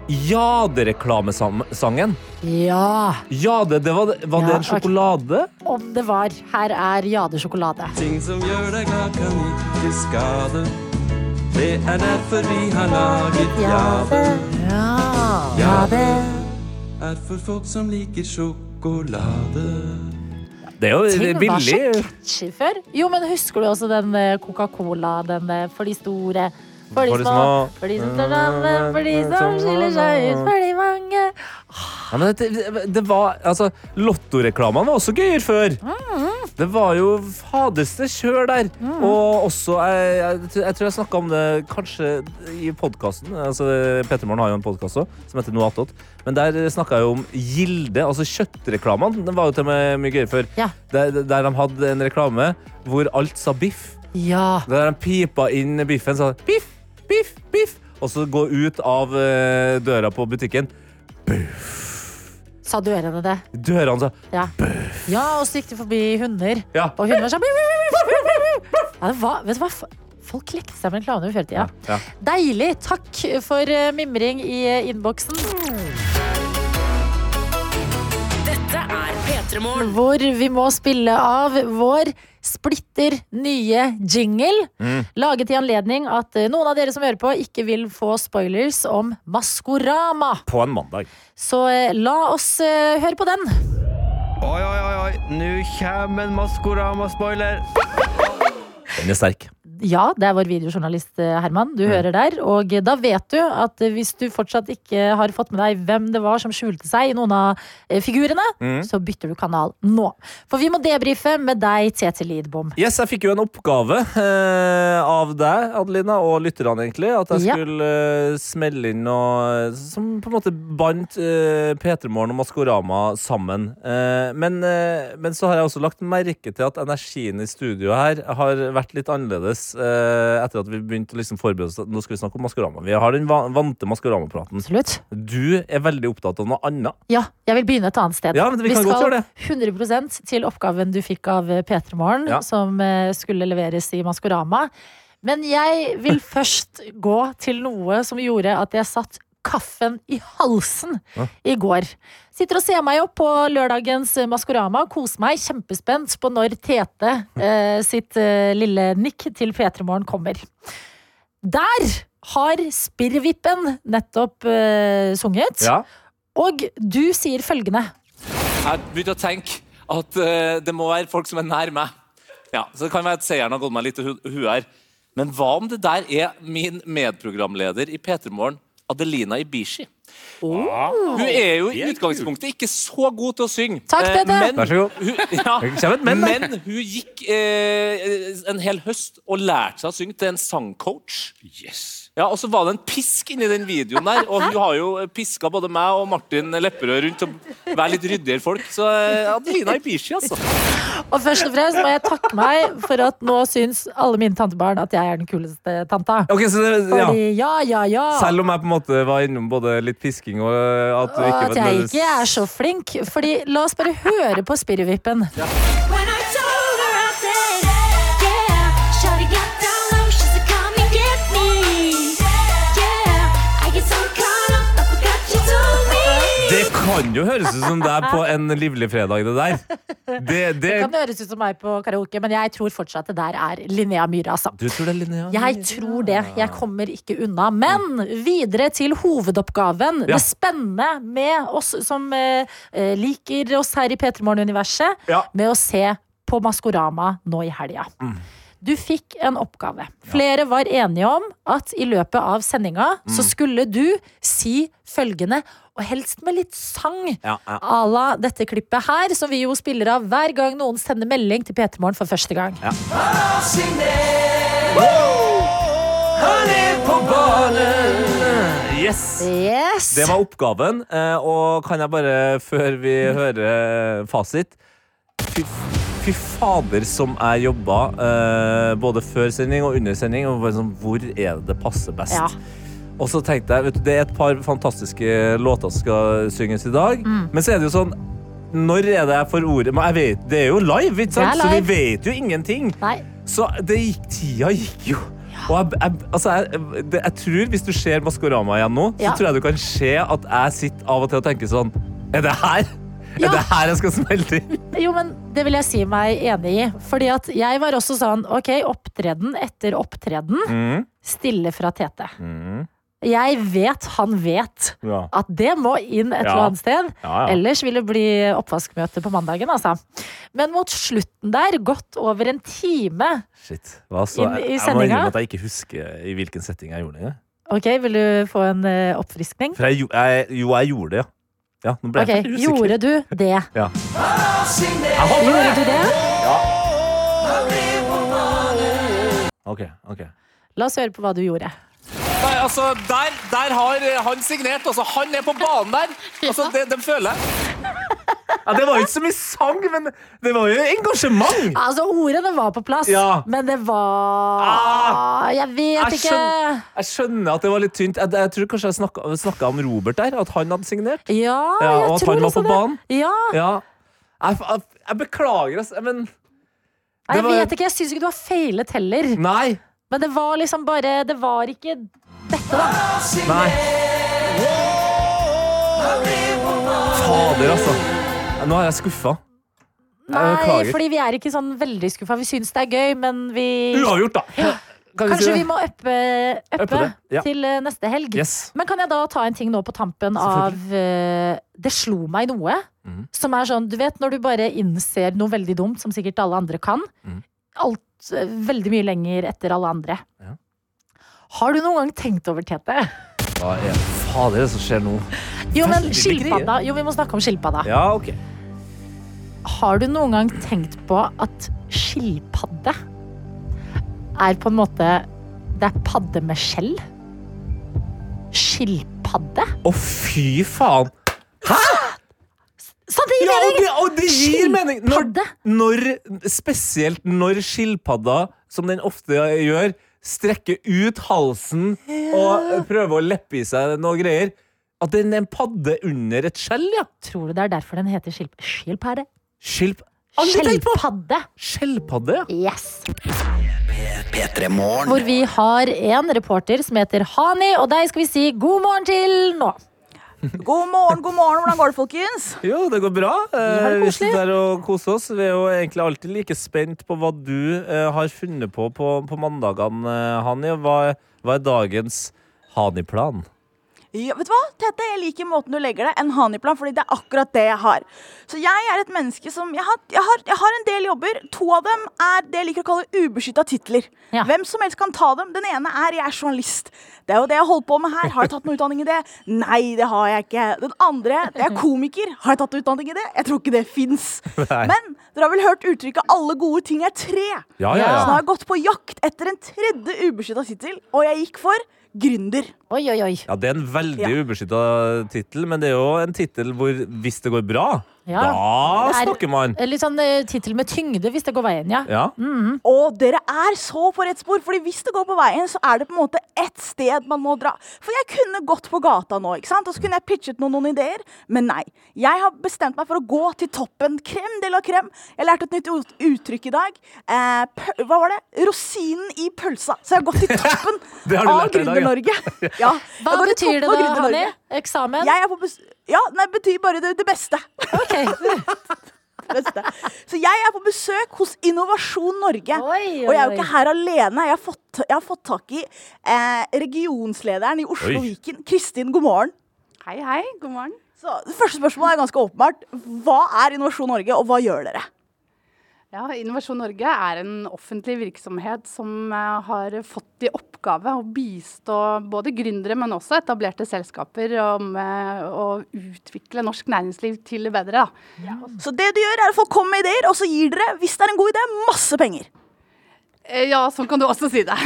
S4: Jade-reklamesangen?
S3: Ja.
S4: Jade, det var, var det
S3: Ja,
S4: en sjokolade?
S3: Om det var. Her er Jade sjokolade.
S24: Ting som gjør deg glad kan ikke skade. Det er derfor vi har laget Jade.
S3: Ja.
S24: Jade er for folk som liker sjokolade.
S4: Det er jo
S3: Ting var så catchy før. Jo, men husker du også den eh, Coca-Cola, den eh, for de store? For de små, for de som tar navnet, for de som skiller seg ut, for de mange.
S4: Ja, men det, det, det var Altså, Lottoreklamene var også gøyere før. Det var jo fadeste kjør der. Og også Jeg, jeg, tror- jeg tror jeg snakka om det kanskje i podkasten. Altså, Petter Morgen har jo en podkast òg som heter Noe attåt. Men der snakka jeg jo om Gilde, altså kjøttreklamene. Den var jo til og med mye gøyere før. Der, der de hadde en reklame hvor alt sa biff.
S3: Ja.
S4: Der de pipa inn biffen, sa biff, biff, biff. Og så gå ut av eh, døra på butikken.
S3: Sa duellene det?
S4: Dørene sa
S3: Ja. ja, og så gikk de forbi hunder.
S4: Ja.
S3: Og hunder sånn, sa ja, det var, Vet du hva? Folk lekte seg med reklamer før i tida.
S4: Ja.
S3: Deilig. Takk for eh, mimring i eh, innboksen.
S1: Dette er P3 Morgen.
S3: Hvor vi må spille av vår splitter nye jingle.
S21: Mm.
S3: Laget i anledning at eh, noen av dere som hører på, ikke vil få spoilers om Maskorama.
S4: På en mandag.
S3: Så eh, la oss eh, høre på den.
S25: Oi, oi, oi, oi. Nå kommer en Maskorama-spoiler.
S4: Den er sterk.
S3: Ja, det er vår videojournalist eh, Herman. Du hører der. Og eh, da vet du at eh, hvis du fortsatt ikke har fått med deg hvem det var som skjulte seg i noen av eh, figurene,
S4: Mm.
S3: så bytter du kanal nå. For vi må debrife med deg, Tete Lidbom.
S4: Yes, jeg fikk jo en oppgave eh, av deg, Adelina, og lytterne, egentlig. At jeg
S3: Ja.
S4: skulle eh, smelle inn noe som på en måte bandt eh, P3morgen og Maskorama sammen. Eh, men, eh, men så har jeg også lagt merke til at energien i studio her har vært litt annerledes stress eh, etter at vi begynte å liksom forberede oss. Nå skal vi snakke om Maskorama. Vi har den va- vante Maskorama-praten.
S3: Absolutt.
S4: Du er veldig opptatt av noe annet.
S3: Ja, jeg vil begynne et annet sted.
S4: Ja, men vi kan
S3: skal
S4: godt gjøre
S3: 100 til oppgaven du fikk av P3 Morgen,
S4: Ja.
S3: som eh, skulle leveres i Maskorama. Men jeg vil først gå til noe som gjorde at jeg satt kaffen i halsen i går. Sitter og ser meg opp på lørdagens Maskorama, koser meg kjempespent på når Tete eh, sitt eh, lille nikk til P3 Morgen kommer. Der har Spirrvippen nettopp eh, sunget.
S26: Ja.
S3: Og du sier følgende.
S26: Jeg begynte å tenke at eh, det må være folk som er nær meg. Ja, så det kan være at seieren har gått meg litt i hu huet her. Men hva om det der er min medprogramleder i P3 Morgen, Adelina Ibishi? Hun er jo i utgangspunktet ikke så god til å synge.
S3: Takk,
S26: Eh,
S3: Peter.
S26: men
S3: Vær så god.
S26: Hun, ja,
S4: Det kommer et men, da.
S26: men hun gikk eh, en hel høst og lærte seg å synge til en sangcoach. Ja, Og så var det en pisk inni den videoen der. Og hun har jo piska både meg og Martin Lepperød rundt til å være litt ryddigere folk. Så eh, Adelina Ibishi, altså.
S3: Og først og fremst må jeg takke meg for at nå syns alle mine tantebarn at jeg er den kuleste tanta.
S4: Ok, så det- ja.
S3: Fordi ja, ja, ja.
S4: Selv om jeg på en måte var innom både litt pisking og eh, at du
S3: Og
S4: ikke
S3: at jeg ikke er så flink. Fordi la oss bare høre på Spirrevippen.
S4: Det kan jo høres ut som det er på en livlig fredag, det der. Det, det,
S3: Det kan høres ut som meg på karaoke, men jeg tror fortsatt det der er Linnea Myhre, altså.
S4: Du tror det er Linnea?
S3: Jeg tror det. Jeg kommer ikke unna. Men videre til hovedoppgaven.
S4: Ja.
S3: Det spennende med oss som eh, eh, liker oss her i P3 Morgen-universet, med å se på Maskorama nå i helga.
S4: Mm.
S3: Du fikk en oppgave. Flere var enige om at i løpet av sendinga
S4: Mm.
S3: så skulle du si følgende, og helst med litt sang
S4: Ja, ja.
S3: à la dette klippet her, som vi jo spiller av hver gang noen sender melding til P3 Morgen for første gang.
S24: Han er på banen!
S4: Yes!
S3: Yes!
S4: Det var oppgaven, eh, og kan jeg bare, før vi
S24: Mm.
S4: hører eh, fasit Fy, fy fader som jeg jobba eh, både før sending og under sending. Og bare sånn, hvor er det det passer best?
S24: Ja.
S4: Og så tenkte jeg, vet du, Det er et par fantastiske låter som skal synges i dag.
S24: Mm.
S4: Men så er det jo sånn Når er det jeg får ordet? Men jeg vet, Det er jo live, ikke sant?
S24: Det er
S4: så vi
S24: live.
S4: vet jo ingenting. Så det gikk, tida gikk jo. Og jeg, jeg, altså jeg, det, jeg tror Hvis du ser Maskorama igjen nå,
S24: Ja.
S4: så tror jeg du kan se at jeg sitter av og til og tenker sånn Er det her? Er det her jeg skal smelte inn?
S3: Jo, men det vil jeg si meg enig i. Fordi at jeg var også sånn, ok, opptreden etter opptreden,
S4: Mm.
S3: stille fra Tete. Jeg vet han vet
S4: Ja.
S3: at det må inn et
S4: Ja.
S3: eller annet sted.
S4: Ja, ja.
S3: Ellers vil det bli oppvaskmøte på mandagen, altså. Men mot slutten der, godt over en time.
S4: Shit. Hva så?
S3: I- i
S4: Jeg, jeg må
S3: sendinga?
S4: innrømme at jeg ikke husker i hvilken setting jeg gjorde det.
S3: Ok, vil du få en eh, oppfriskning?
S4: For jeg, gjo- jeg, jo, jeg gjorde det, ja. ja nå ble
S3: Ok,
S4: jeg usikker.
S3: gjorde du det?
S4: Ja.
S3: Gjorde du det?
S4: OK. ok.
S3: La oss høre på hva du gjorde.
S26: Nei, altså, der, der har han signert. Altså, han er på banen der. Altså, det, det føler jeg.
S4: Ja, det var jo ikke så mye sang, men det var jo engasjement!
S3: Altså, ordene var på plass,
S4: Ja. Ah!
S3: men det var Jeg vet
S4: Jeg
S3: ikke.
S4: skjønner, jeg skjønner at det var litt tynt. Jeg, jeg tror kanskje jeg snakka- snakka om Robert der, at han hadde signert.
S3: Ja,
S4: Ja, og
S3: jeg
S4: at
S3: tror
S4: han var
S3: også
S4: på
S3: det.
S4: banen.
S3: Ja.
S4: Ja. Jeg, jeg, jeg beklager, altså, men
S3: Nei,
S4: Det
S3: jeg
S4: var- Mm.
S3: vet ikke, jeg syns ikke du har feilet heller.
S4: Nei.
S3: Men det var liksom bare Det var ikke dette, da.
S4: Nei. Fader, altså. Nå er jeg skuffa. Jeg
S3: Nei,
S4: beklager.
S3: fordi vi er ikke sånn veldig skuffa. Vi syns det er gøy, men vi
S4: Uavgjort, da! Kan vi si
S3: Kanskje
S4: det?
S3: vi må uppe, uppe,
S4: Uppe det, ja.
S3: til eh, neste helg.
S4: Yes.
S3: Men kan jeg da ta en ting nå på tampen av eh, Det slo meg noe.
S4: Mhm.
S3: Som er sånn, du vet når du bare innser noe veldig dumt, som sikkert alle andre kan.
S4: Mhm.
S3: Alt eh, veldig mye lenger etter alle andre. Har du noen gang tenkt over Tete?
S4: Hva er fader det som skjer nå?
S3: Jo, men
S4: Veldig
S3: skilpadda.
S4: greier.
S3: Jo, vi må snakke om skilpadda.
S4: Ja, ok.
S3: Har du noen gang tenkt på at skilpadde er på en måte Det er padde med skjell? Skilpadde?
S4: Å, fy faen! Hæ?!
S3: Så det gir
S4: Ja, og
S3: mening!
S4: det, og det gir mening! Når,
S3: Skilpadde.
S4: når, spesielt når skilpadda som den ofte gjør, strekker ut halsen og prøver å leppe i seg noe greier. At den er en padde under et skjell, ja.
S3: Tror du det er derfor den heter skilp skilpadde?
S4: Skilp... Aldri tenkt på!
S3: Skjelpadde.
S4: Skjellpadde,
S3: ja. Yes. Hvor vi har en reporter som heter Hani, og deg skal vi si god morgen til nå.
S12: God morgen, god morgen. Hvordan går det, folkens?
S4: Jo, det går bra.
S12: Ja, det er
S4: Eh, vi
S12: koselig.
S4: sitter her og koser oss. Vi er jo egentlig alltid like spent på hva du eh, har funnet på på, på mandagene, eh, Hani. Hva, hva er dagens Hani-plan?
S12: Ja, vet du hva, Tete, jeg liker måten du legger det, en haniplan, fordi det er akkurat det jeg har. Så jeg er et menneske som Jeg har, jeg har, jeg har en del jobber. To av dem er det jeg liker å kalle ubeskytta titler. Hvem som helst kan ta dem. Den ene er 'jeg er journalist'. Det er jo det jeg holder på med her. Har jeg tatt noe utdanning i det? Nei, det har jeg ikke. Den andre, det er komiker. Har jeg tatt noe utdanning i det? Jeg tror ikke det fins.
S21: Nei.
S12: Men dere har vel hørt uttrykket 'alle gode ting er tre'?
S21: Ja, ja, ja.
S12: Så nå har jeg gått på jakt etter en tredje ubeskytta tittel, og jeg gikk for gründer.
S3: Oi, oi, oi.
S4: Ja, Det er en veldig
S12: Ja.
S4: ubeskytta tittel, men det er jo en tittel hvor hvis det går bra,
S3: Ja.
S4: da
S3: Det er
S4: snakker man.
S3: Litt sånn eh, tittel med tyngde, hvis det går veien, ja.
S4: Ja.
S12: Mm. Og dere er så på rett spor, Fordi hvis det går på veien, så er det på en måte ett sted man må dra. For jeg kunne gått på gata nå, ikke sant? og så kunne jeg pitchet noen, noen ideer, men nei. Jeg har bestemt meg for å gå til toppen. Krem de la krem. Jeg lærte et nytt ut- uttrykk i dag. Eh, pø- hva var det? Rosinen i pølsa. Så jeg har gått til toppen
S21: Det har du
S12: av
S21: lært deg i dag, ja.
S12: Gründer-Norge. Ja. Jeg
S3: Hva
S12: går til
S3: betyr det
S12: toppen av
S3: da,
S12: Gründer-Norge.
S3: Hani? Eksamen?
S12: Jeg er på bes ja, nei, det betyr bare det, det beste. beste. Så jeg er på besøk hos Innovasjon Norge.
S21: oi,
S12: Og jeg er jo
S21: oi.
S12: ikke her alene. Jeg har fått, jeg har fått tak i eh, regionslederen i Oslo
S21: Oi.
S12: Viken. Kristin, god morgen.
S27: Hei, hei. God morgen.
S12: Så det første spørsmålet er ganske åpenbart. Hva er Innovasjon Norge, og hva gjør dere?
S27: Ja, Innovasjon Norge er en offentlig virksomhet som eh, har fått i oppgave å bistå både gründere, men også etablerte selskaper om eh, å utvikle norsk næringsliv til det bedre. Da.
S12: Så det du gjør, er å få komme med ideer, og så gir dere, hvis det er en god idé, masse penger.
S27: Eh, Ja, sånn kan du også si det.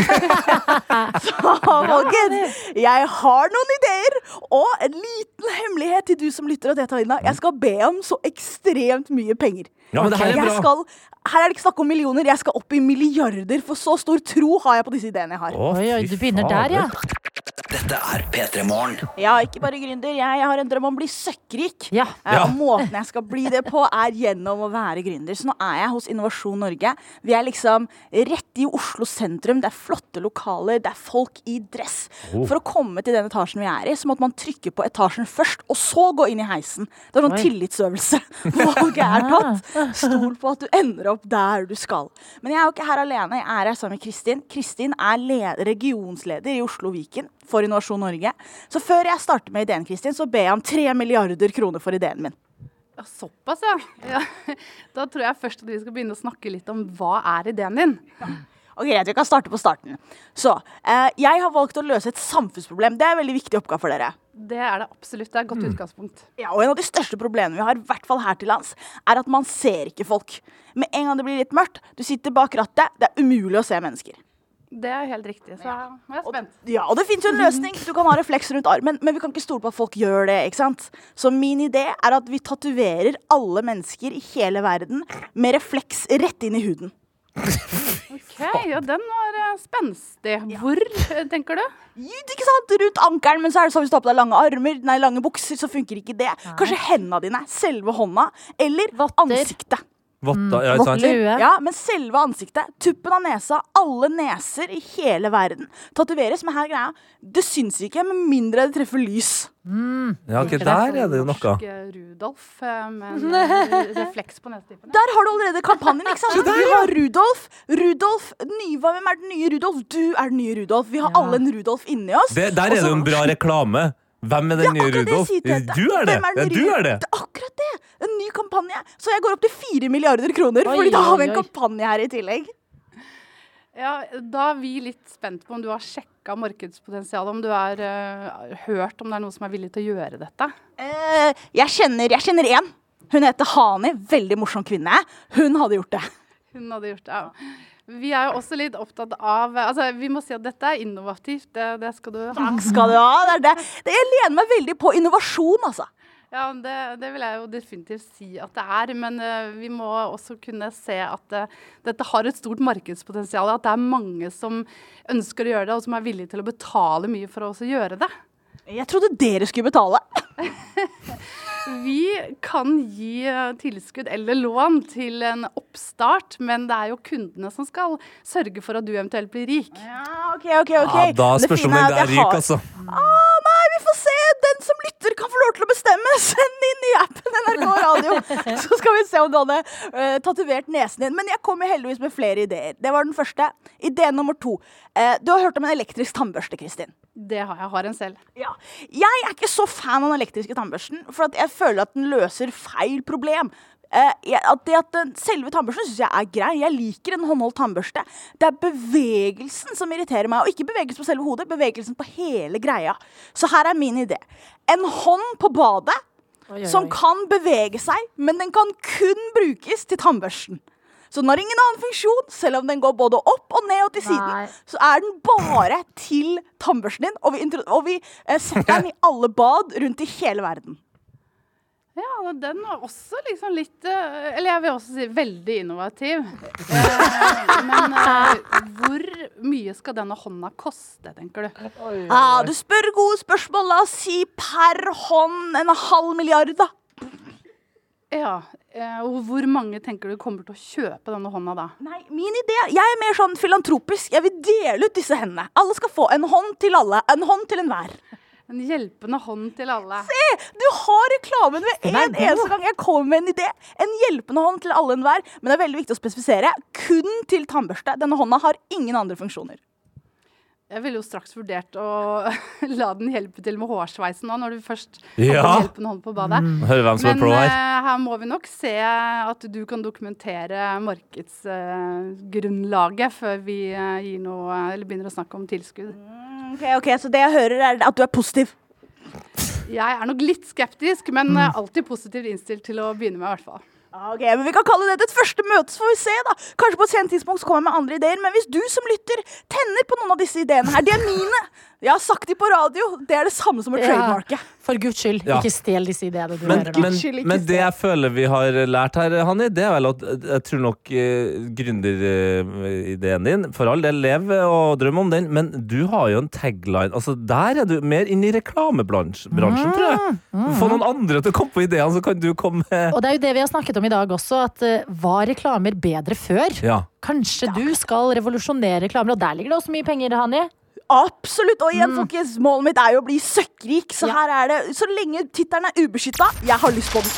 S12: Så folkens, jeg har noen ideer, og en liten hemmelighet til du som lytter og deltar inn. Jeg skal be om så ekstremt mye penger.
S21: Ja, men det her er
S12: Jeg
S21: bra.
S12: Skal, her er det ikke snakk om millioner, jeg skal opp i milliarder, for så stor tro har jeg på disse ideene jeg har.
S3: Oi, oi, du begynner der, ja.
S5: Dette er P3 Morgen.
S12: Ja, ikke bare gründer. Jeg, jeg har en drøm om å bli søkkrik. Eh,
S5: Ja.
S12: og Måten jeg skal bli det på, er gjennom å være gründer. Så nå er jeg hos Innovasjon Norge. Vi er liksom rett i Oslo sentrum. Det er flotte lokaler, det er folk i dress.
S21: Oh.
S12: For å komme til den etasjen vi er i, så måtte man trykke på etasjen først, og så gå inn i heisen. Det var
S21: Oi.
S12: sånn tillitsøvelse. Valget er tatt. Stol på at du ender opp der du skal. Men jeg er jo ikke her alene. Jeg er her sammen med Kristin. Kristin er le- regionsleder i Oslo Viken for Innovasjon Norge. Så før jeg starter med ideen, Kristin, så ber jeg om 3 milliarder kroner for ideen min.
S27: Ja, såpass, ja. ja. Da tror jeg først at vi skal begynne å snakke litt om hva er ideen din.
S12: Ok, greit, Vi kan starte på starten. Så, eh, Jeg har valgt å løse et samfunnsproblem. Det er en veldig viktig oppgave for dere.
S27: Det er det absolutt. Det er et godt utgangspunkt.
S12: Ja, og En av de største problemene vi har, i hvert fall her til lands, er at man ser ikke folk. Med en gang det blir litt mørkt, du sitter bak rattet, det er umulig å se mennesker.
S27: Det er helt riktig. Så jeg er spent.
S12: Ja, og det finnes jo en løsning. Du kan ha refleks rundt armen, men vi kan ikke stole på at folk gjør det. ikke sant? Så min idé er at vi tatoverer alle mennesker i hele verden med refleks rett inn i huden.
S27: Ok, ja, den var eh, spenstig. Hvor, eh, tenker du?
S12: Ikke sant? Rundt ankelen, men så er det sånn hvis du har på deg lange armer, nei, lange bukser, så funker ikke det. Kanskje hendene dine, selve hånda, eller ansiktet. Mm.
S4: Votta, ja, ikke sant?
S12: Ja, men selve ansiktet, tuppen av nesa, alle neser i hele verden tatoveres. Men her er greia, det syns ikke med mindre det treffer lys.
S4: Ja, ok, der er det jo noe.
S27: Rudolf eh, med en eh, refleks på nesetippen.
S12: Der har du allerede kampanjen, ikke sant? Vi har Rudolf. Rudolf, ny, hvem er den nye Rudolf? Du er den nye Rudolf. Vi har alle en Rudolf inni oss.
S4: Det, der er det jo en bra reklame. Hvem er den nye
S12: akkurat det jeg
S4: Rudolf?
S12: sier til deg.
S4: Du er det!
S12: Hvem er
S4: Ja,
S12: den
S4: du
S12: nye-
S4: er det!
S12: En ny kampanje. Så jeg går opp til fire milliarder kroner,
S27: Oi,
S12: fordi da har vi
S27: oi,
S12: en
S27: oi.
S12: kampanje her i tillegg.
S27: Ja, da er vi litt spent på om du har sjekka markedspotensialet, om du har eh, hørt om det er noen som er villig til å gjøre dette.
S12: Eh, jeg kjenner, jeg kjenner én. Hun heter Hani. Veldig morsom kvinne. Hun hadde gjort det.
S27: Hun hadde gjort det. Ja. Vi er jo også litt opptatt av altså Vi må si at dette er innovativt. Det, det skal du ha.
S12: Takk skal du ha. Det er det. Det, jeg lener meg veldig på innovasjon, altså.
S27: Ja, det, det vil jeg jo definitivt si at det er. Men eh, vi må også kunne se at eh, dette har et stort markedspotensial. At det er mange som ønsker å gjøre det, og som er villige til å betale mye for å også gjøre det.
S12: Jeg trodde dere skulle betale.
S27: Vi kan gi eh, tilskudd eller lån til en oppstart, men det er jo kundene som skal sørge for at du eventuelt blir rik.
S12: Ja, ok, ok, ok.
S4: Ja, da spørs om
S12: fine
S4: den
S12: at
S4: er
S12: jeg har-
S4: rik, altså.
S12: Ah, nei, vi får se. Den som lytter, kan få lov til å bestemme. Send inn i appen NRK Radio, så skal vi se om du hadde eh, tatovert nesen din. Men jeg kommer heldigvis med flere ideer. Det var den første. Idé nummer to. Eh, du har hørt om en elektrisk tannbørste, Kristin.
S27: Det har jeg har en selv.
S12: Ja. Jeg er ikke så fan av den elektriske tannbørsten, for at jeg føler at den løser feil problem. Eh, jeg- at det at den, selve tannbørsten syns jeg er grei. Jeg liker en håndholdt tannbørste. Det er bevegelsen som irriterer meg, og ikke bevegelsen på selve hodet, bevegelsen på hele greia. Så her er min idé. En hånd på badet
S21: Oi, oi,
S12: som
S21: oi.
S12: kan bevege seg, men den kan kun brukes til tannbørsten. Så den har ingen annen funksjon, selv om den går både opp og ned og til siden. Så er den bare til tannbørsten din, og vi, intro- og vi eh, setter den i alle bad rundt i hele verden.
S27: Ja, og den var også liksom litt eh, Eller jeg vil også si veldig innovativ. Eh, Men eh, hvor mye skal denne hånda koste, tenker du?
S12: Ah, du spør gode spørsmål. La oss si per hånd en halv milliard, da.
S27: Ja. eh, Og hvor mange tenker du kommer til å kjøpe denne hånda da?
S12: Nei, min idé Jeg er mer sånn filantropisk. Jeg vil dele ut disse hendene. Alle skal få en hånd til alle. En hånd til enhver.
S27: En hjelpende hånd til alle.
S12: Se! Du har reklamen med
S27: Den
S12: en
S27: er god.
S12: eneste gang jeg kommer med en idé. En hjelpende hånd til alle enhver. Men det er veldig viktig å spesifisere. Kun til tannbørste. Denne hånda har ingen andre funksjoner.
S27: Jeg ville jo straks vurdert å la den hjelpe til med hårsveisen nå, når du først
S4: Ja.
S27: hadde hjelpende hånd på badet.
S4: Mm, hører hvem som er
S27: Men
S4: pro her.
S27: eh, her må vi nok se at du kan dokumentere markedsgrunnlaget før vi eh, gir noe, eller begynner å snakke om tilskudd.
S12: Mm, Ok, ok, Så det jeg hører, er at du er positiv.
S27: Jeg er nok litt skeptisk, men eh, alltid positivt innstilt til å begynne med, i hvert fall.
S12: Ah, Ok, men Vi kan kalle det et første møte, så får vi se. da Kanskje på et sent tidspunkt så kommer jeg med andre ideer. Men hvis du som lytter tenner på noen av disse ideene her, de er mine. Jeg har sagt de på radio. Det er det samme som å
S3: Ja.
S12: trademarke.
S3: For guds skyld,
S4: Ja.
S3: ikke stjel disse ideene du
S4: Men,
S3: hører nå.
S4: men, men det jeg føler vi har lært her, Hanni, det er vel at jeg tror nok eh, gründerideen din For all del, lev eh, og drøm om den, men du har jo en tagline. Altså, Der er du mer inn i reklamebransjen, bransjen, tror jeg. Få noen andre til å komme på ideene, så kan du komme med
S3: Og det er jo det vi har snakket om i dag også, at eh, var reklamer bedre før?
S4: Ja.
S3: Kanskje du skal revolusjonere reklamer, og der ligger det også mye penger, Hani?
S12: Absolutt. Og igjen, folkens, målet mitt er jo å bli søkkrik, så her er det Så lenge tittelen er ubeskytta, jeg har lyst på den.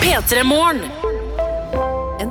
S1: P3-morgen.
S6: En